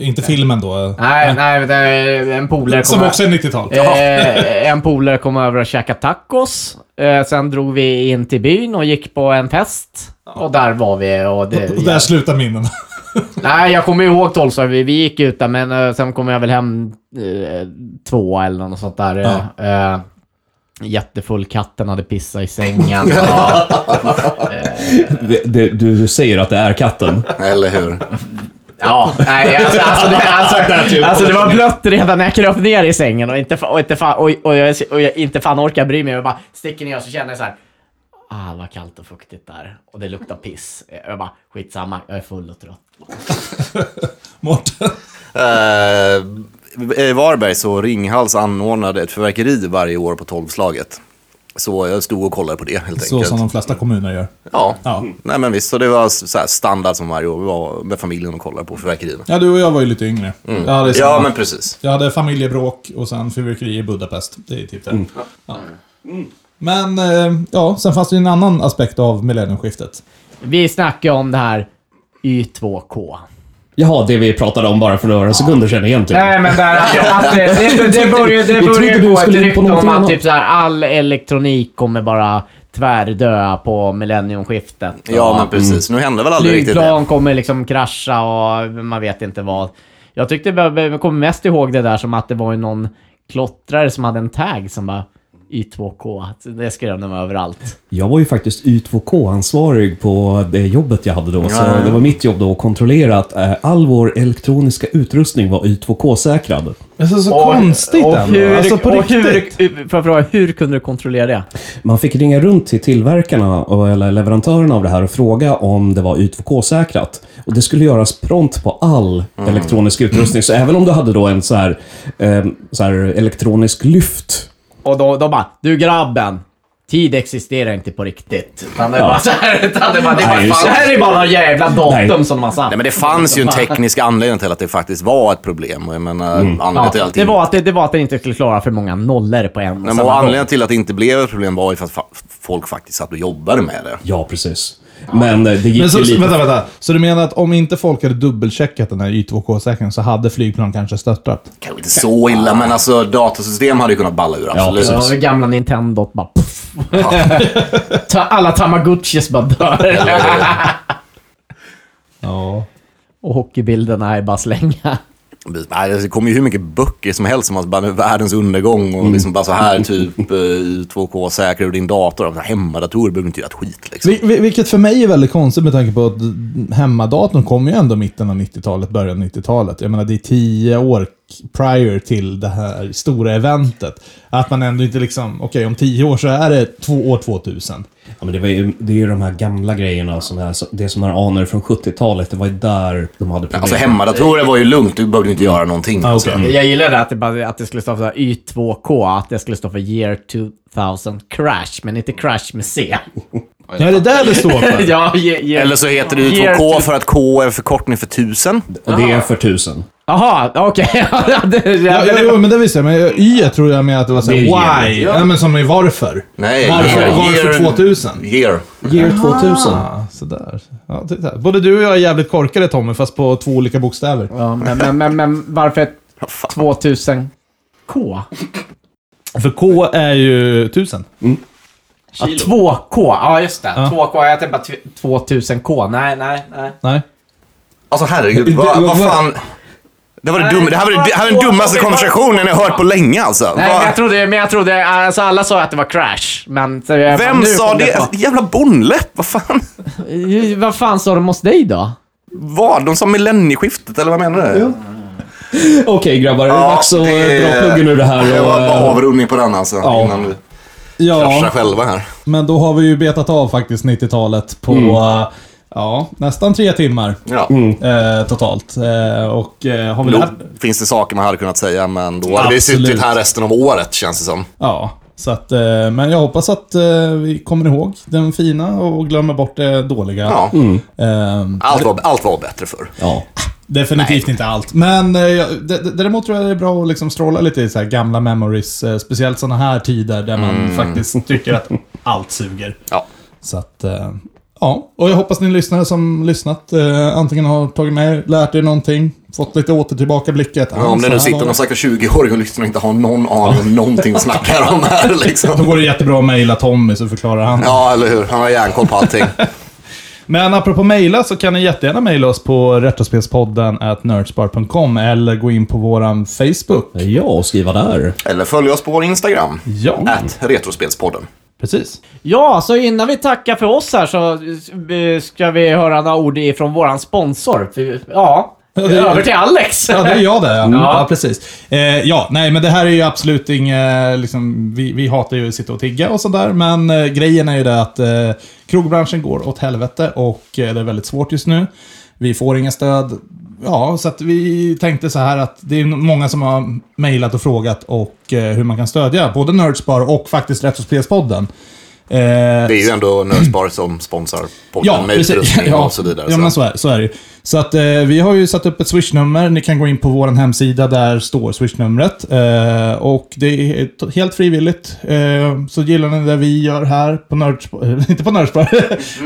S1: Inte filmen då?
S4: Nej, nej, det är en polare
S1: Eh,
S4: kom
S1: Som
S4: ö-
S1: också är 90-tal?
S4: eh, En polare kom över och käkade tacos. Eh, sen drog vi in till byn och gick på en fest. Och där var vi. Och det,
S1: Och där slutar minnen.
S4: Nej, jag kommer ihåg Tolsa. Vi, vi gick ut där, men eh, sen kom jag väl hem eh, två eller något sånt där. eh, Eh, jättefull, katten hade pissat i sängen. Ja,
S2: Det, det, du säger att det är katten.
S3: eller hur.
S4: ja nej, alltså, alltså, det,
S2: typ
S4: alltså, alltså det var blött redan när jag kröp ner i sängen och inte, fa- och inte, fa- och, och jag, och jag inte fan orkar bry mig. Jag bara sticker ner och så känner jag så här. Ah, vad kallt och fuktigt där. Och det luktar piss. Jag bara, skitsamma, jag är full och trött.
S1: Mårten?
S3: Eh, I Varberg så Ringhals anordnade ett fyrverkeri varje år på tolvslaget. Så jag stod och kollade på det helt
S1: Så
S3: enkelt.
S1: som de flesta kommuner gör.
S3: Ja.
S1: Ja.
S3: Nej men visst, så det var så här standard som varje år. Vi var med familjen och kollade på fyrverkerierna.
S1: Ja, du och jag var ju lite yngre. Jag, hade
S3: Ja
S1: samma-
S3: men precis.
S1: jag hade familjebråk och sen fyrverkeri i Budapest. Det är typ det.
S4: Mm.
S1: Ja. Men, eh, ja, sen fanns det ju en annan aspekt av millenniumskiftet.
S4: Vi snackar om det här Y2K.
S2: Jaha, det vi pratade om bara för några sekunder sedan egentligen.
S4: Nej men där, att, att, det, det, det börjar det
S2: Jag
S4: börjar
S2: trodde
S4: ju
S2: du
S4: gå ett
S2: skulle in på
S4: rykte om
S2: någonting
S4: att
S2: annat.
S4: typ så här, all elektronik kommer bara tvärdö på millenniumskiftet.
S3: Ja men precis. Nu hände väl aldrig riktigt det.
S4: Flygplan kommer liksom krascha och man vet inte vad. Jag tyckte jag kommer mest ihåg det där som att det var ju någon klottrare som hade en tag som bara Y2K. Det skrev de överallt.
S2: Jag var ju faktiskt Y2K-ansvarig på det jobbet jag hade då. Så
S4: Ja.
S2: det var mitt jobb då att kontrollera att eh, all vår elektroniska utrustning var Y2K-säkrad.
S1: Alltså, så konstigt
S4: och
S1: ändå.
S4: hur,
S1: Alltså, på
S4: och
S1: riktigt.
S4: Hur, får jag fråga, hur kunde du kontrollera det?
S2: Man fick ringa runt till tillverkarna, och- eller leverantörerna av det här, och fråga om det var Y2K-säkrat. Och Det skulle göras prompt på all
S1: Mm.
S2: elektronisk utrustning. Så även om du hade då en så här, eh, så här elektronisk lyft
S4: Och då, då bara, du grabben. Tid existerar inte på riktigt. Utan det är
S2: Ja.
S4: bara så här, utan det är bara, det
S3: Nej,
S4: är bara,
S3: just
S4: det
S3: det.
S4: här är bara några jävla datum som de har satt.
S3: Nej, men det fanns ju en teknisk anledning till att det faktiskt var ett problem. Och Jag menar, anledningen,
S4: Ja,
S3: till att
S4: det, var att det, det var att den inte skulle klara för många nollor på en och
S3: Nej, men
S4: samma
S3: och
S4: gång.
S3: anledningen till att det inte blev ett problem var ju för att fa- folk faktiskt satt och jobbade med det.
S2: Ja, precis. Men eh, det gick
S1: Men så,
S2: ju lite...
S1: vänta, vänta. Så du menar att om inte folk hade dubbelcheckat den här Y2K-säkringen så hade flygplan kanske störtat?
S3: Kanske inte så illa, men alltså datasystem hade ju kunnat balla ur, absolut.
S4: Ja, det gamla Nintendo bara... Puff. Ta- Alla Tamagotchis bara dör.
S1: Ja.
S4: Och hockeybilderna är bara slänga.
S3: Nej, det kommer ju hur mycket böcker som helst som bara världens undergång och
S1: Mm.
S3: liksom bara så här typ eh, 2K säkrar du din dator. Och så här, Hemmadatorer behöver inte göra ett skit liksom.
S1: Vil- vil- vilket för mig är väldigt konstigt med tanke på att hemmadatorn kom ju ändå mitten av 90-talet, början av 90-talet. Jag menar, det är tio år k- prior till det här stora eventet. Att man ändå inte liksom, okej om tio år så är det två, år 2000.
S2: Ja, men det, var ju, det är ju de här gamla grejerna, som är, så- det som är aner från 70-talet. Det var ju där de hade problem.
S3: Alltså hemmadatorer var ju lugnt, du behövde inte göra någonting.
S1: Mm. Ah,
S3: alltså.
S1: okej.
S4: Jag gillade att det, bara, att det skulle stå för så här Y2K, att det skulle stå för year 2000 crash, men inte crash med C.
S1: Ja, det är där det står för.
S4: ja, ye, ye,
S3: Eller så heter det ju
S4: year
S3: 2K
S4: to-
S3: för att K är en förkortning för 1000.
S2: Och det är för tusen.
S4: Jaha, okej. Ja, det- det-
S1: Ja, ja,
S4: det-
S1: jo, men det visste jag. Men y tror jag med att det var såhär,
S2: Det är
S1: why?
S2: gen.
S1: Ja. men som är varför.
S3: Nej,
S1: Varför,
S3: year-
S1: varför
S3: year-
S1: 2000?
S3: Year.
S2: Year 2000.
S1: Ah, sådär. Ja, titta. Både du och jag är jävligt korkade Tommy, fast på två olika bokstäver.
S4: Ja, men, men, men, men varför 2000 K?
S1: För K är ju 1000.
S4: Ja, 2K, ja just det.
S1: Ja.
S4: 2K, jag tänkte bara tv- 2000K. Nej, nej, nej.
S1: Nej.
S3: Alltså herregud,
S1: Det-
S3: vad,
S1: vad-
S3: vad fan. Det, var det, dum, det här var det, det här är den dummaste konversationen jag hört på länge alltså.
S4: Nej,
S3: Vad-
S4: men jag trodde, men jag trodde, alltså alla sa att det var crash. Men så jag, fan,
S3: Vem
S4: nu
S3: sa
S4: kom
S3: det?
S4: på-
S3: Jävla bonnläpp, vad fan?
S4: Eh, Vad fan sa de hos dig då?
S3: Vad? De sa millennieskiftet, eller vad menar du?
S2: Okej grabbar, det är dags att
S3: det-
S2: dra pluggen ur det här.
S3: Det
S2: och,
S3: var bara
S2: eh,
S3: avrundning på den alltså,
S2: Ja.
S3: innan vi kraschar
S1: Ja,
S3: själva här.
S1: men då har vi ju betat av faktiskt 90-talet på
S3: Mm.
S1: eh, ja, nästan tre timmar
S3: Ja.
S1: eh, totalt. Eh, och eh, har vi
S3: Mm. Då
S1: lärt...
S3: finns det saker man hade kunnat säga, men då hade vi
S1: Absolut.
S3: suttit här resten av året, känns det som.
S1: Ja, så att, eh, men jag hoppas att eh, vi kommer ihåg den fina och glömmer bort det dåliga.
S3: Ja. Mm.
S1: Ehm,
S3: Allt, var, allt var bättre förr.
S2: ja.
S1: Definitivt inte allt. Men eh, jag- d- d- däremot tror jag det är bra att liksom stråla lite i så här gamla memories. eh, Speciellt såna här tider där man faktiskt tycker att allt suger.
S3: Mm. Ja.
S1: Så att, eh, ja. Och jag hoppas ni lyssnare som lyssnat eh, antingen har tagit med er, lärt er någonting, fått lite Alltså, åter tillbaka blicket.
S3: Ja, om det nu sitter någon säkert 20-åring och lyssnar och inte har någon aning om någonting att snacka om här
S1: Då
S3: liksom.
S1: går det jättebra att mejla Tommy så förklarar han.
S3: Ja, eller hur? Han har järnkoll på allting.
S1: Men apropå mejla så kan ni jättegärna mejla oss på retrospelspodden at nerdspar.com eller gå in på våran Facebook.
S2: ja, och skriva där.
S3: Eller följ oss på vår Instagram.
S1: Ja,
S3: Att Retrospelspodden.
S1: precis.
S4: Ja, så innan vi tackar för oss här så eh, ska vi höra några ord ifrån våran sponsor. För- Ja,
S1: det är-
S4: över till Alex.
S1: Ja, det är jag det. Ja, ja.
S4: Ja.
S1: precis. Eh, ja, nej, men det här är ju absolut inget... Liksom, vi, vi hatar ju att sitta och tigga och sådär, men eh, grejen är ju det att eh, krogbranschen går åt helvete och eh, det är väldigt svårt just nu. Vi får inga stöd. Ja, så att vi tänkte så här att det är många som har mejlat och frågat och eh, hur man kan stödja både Nerdspar och faktiskt Retrospelspodden. Eh,
S3: Det är ju ändå Nördspar som sponsrar podden med utrustning och så vidare.
S1: Ja,
S3: så.
S1: men så är, så är det ju. Så att eh, vi har ju satt upp ett swishnummer. Ni kan gå in på vår hemsida, där står swishnumret. Eh, och det är t- helt frivilligt. Eh, så gillar ni det vi gör här på Nördspar, inte på Nördspar,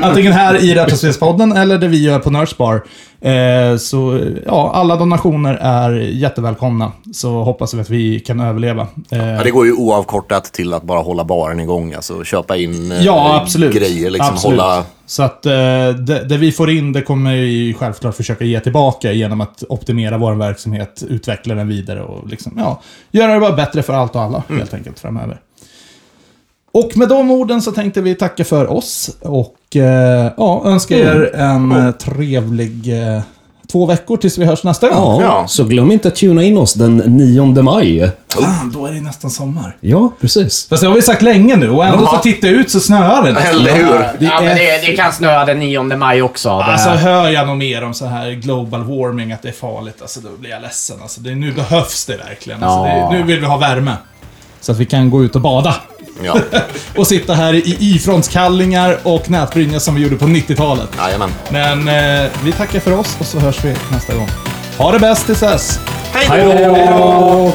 S1: antingen här i Rättvispodden eller det vi gör på Nördspar. Eh, så ja, alla donationer är jättevälkomna. Så hoppas vi att vi kan överleva. Eh,
S3: Ja, det går ju oavkortat till att bara hålla baren igång. Alltså köpa in eh,
S1: Ja, absolut.
S3: grejer. Liksom,
S1: absolut.
S3: Hålla...
S1: Så att eh, det, det vi får in, det kommer vi självklart försöka ge tillbaka genom att optimera vår verksamhet,
S3: Mm.
S1: utveckla den vidare och liksom, ja, göra det bara bättre för allt och alla helt enkelt framöver. Och med de orden så tänkte vi tacka för oss och eh, ja, önska
S3: Mm.
S1: er en eh, trevlig eh, två veckor tills vi hörs nästa gång.
S2: Ja, så glöm inte att tuna in oss den 9 maj.
S1: Fan, då är det nästan sommar.
S2: Ja, precis.
S1: Fast det har vi sagt länge nu och ändå så tittar jag ut så snöar det. nästan.
S3: Eller hur?
S1: Det
S4: ja, men
S1: är-
S4: det, det kan snöa den 9 maj också. Det-
S1: Alltså hör jag nog mer om så här global warming, att det är farligt, alltså då blir jag ledsen. Alltså, det, nu behövs det verkligen. Alltså,
S4: Ja.
S1: det, nu vill vi ha värme. Så att vi kan gå ut och bada.
S3: Ja,
S1: Och sitta här i ifrånskallingar och nätbrynja som vi gjorde på 90-talet.
S3: jajamän.
S1: Men eh, vi tackar för oss och så hörs vi nästa gång. Ha det bäst tills dess!
S3: Hej då!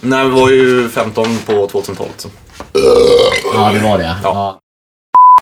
S3: Nej, vi var ju 15 på 2012. Så.
S4: Ja, det var det. Ja.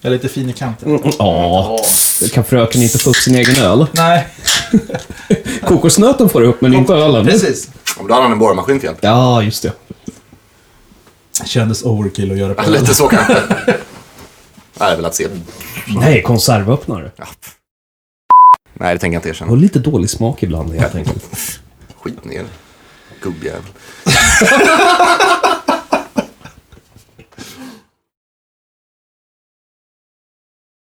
S1: Jag är lite fin i kanten.
S2: Mm. Ja, kan fröken inte få upp sin egen öl?
S1: Nej,
S2: Kokosnöten får du upp, men inte ölen.
S1: precis.
S3: Om Då hade han en borrmaskin till hjälp.
S2: Ja, just det.
S1: Kändes overkill att göra på
S3: Lite så kanske. Nej, jag hade velat se.
S2: Nej, konservöppnare.
S3: Nej, det tänker jag inte
S2: Jag har
S3: erkänna.
S2: lite dålig smak ibland helt enkelt.
S3: Skit ner. Gubbjävel.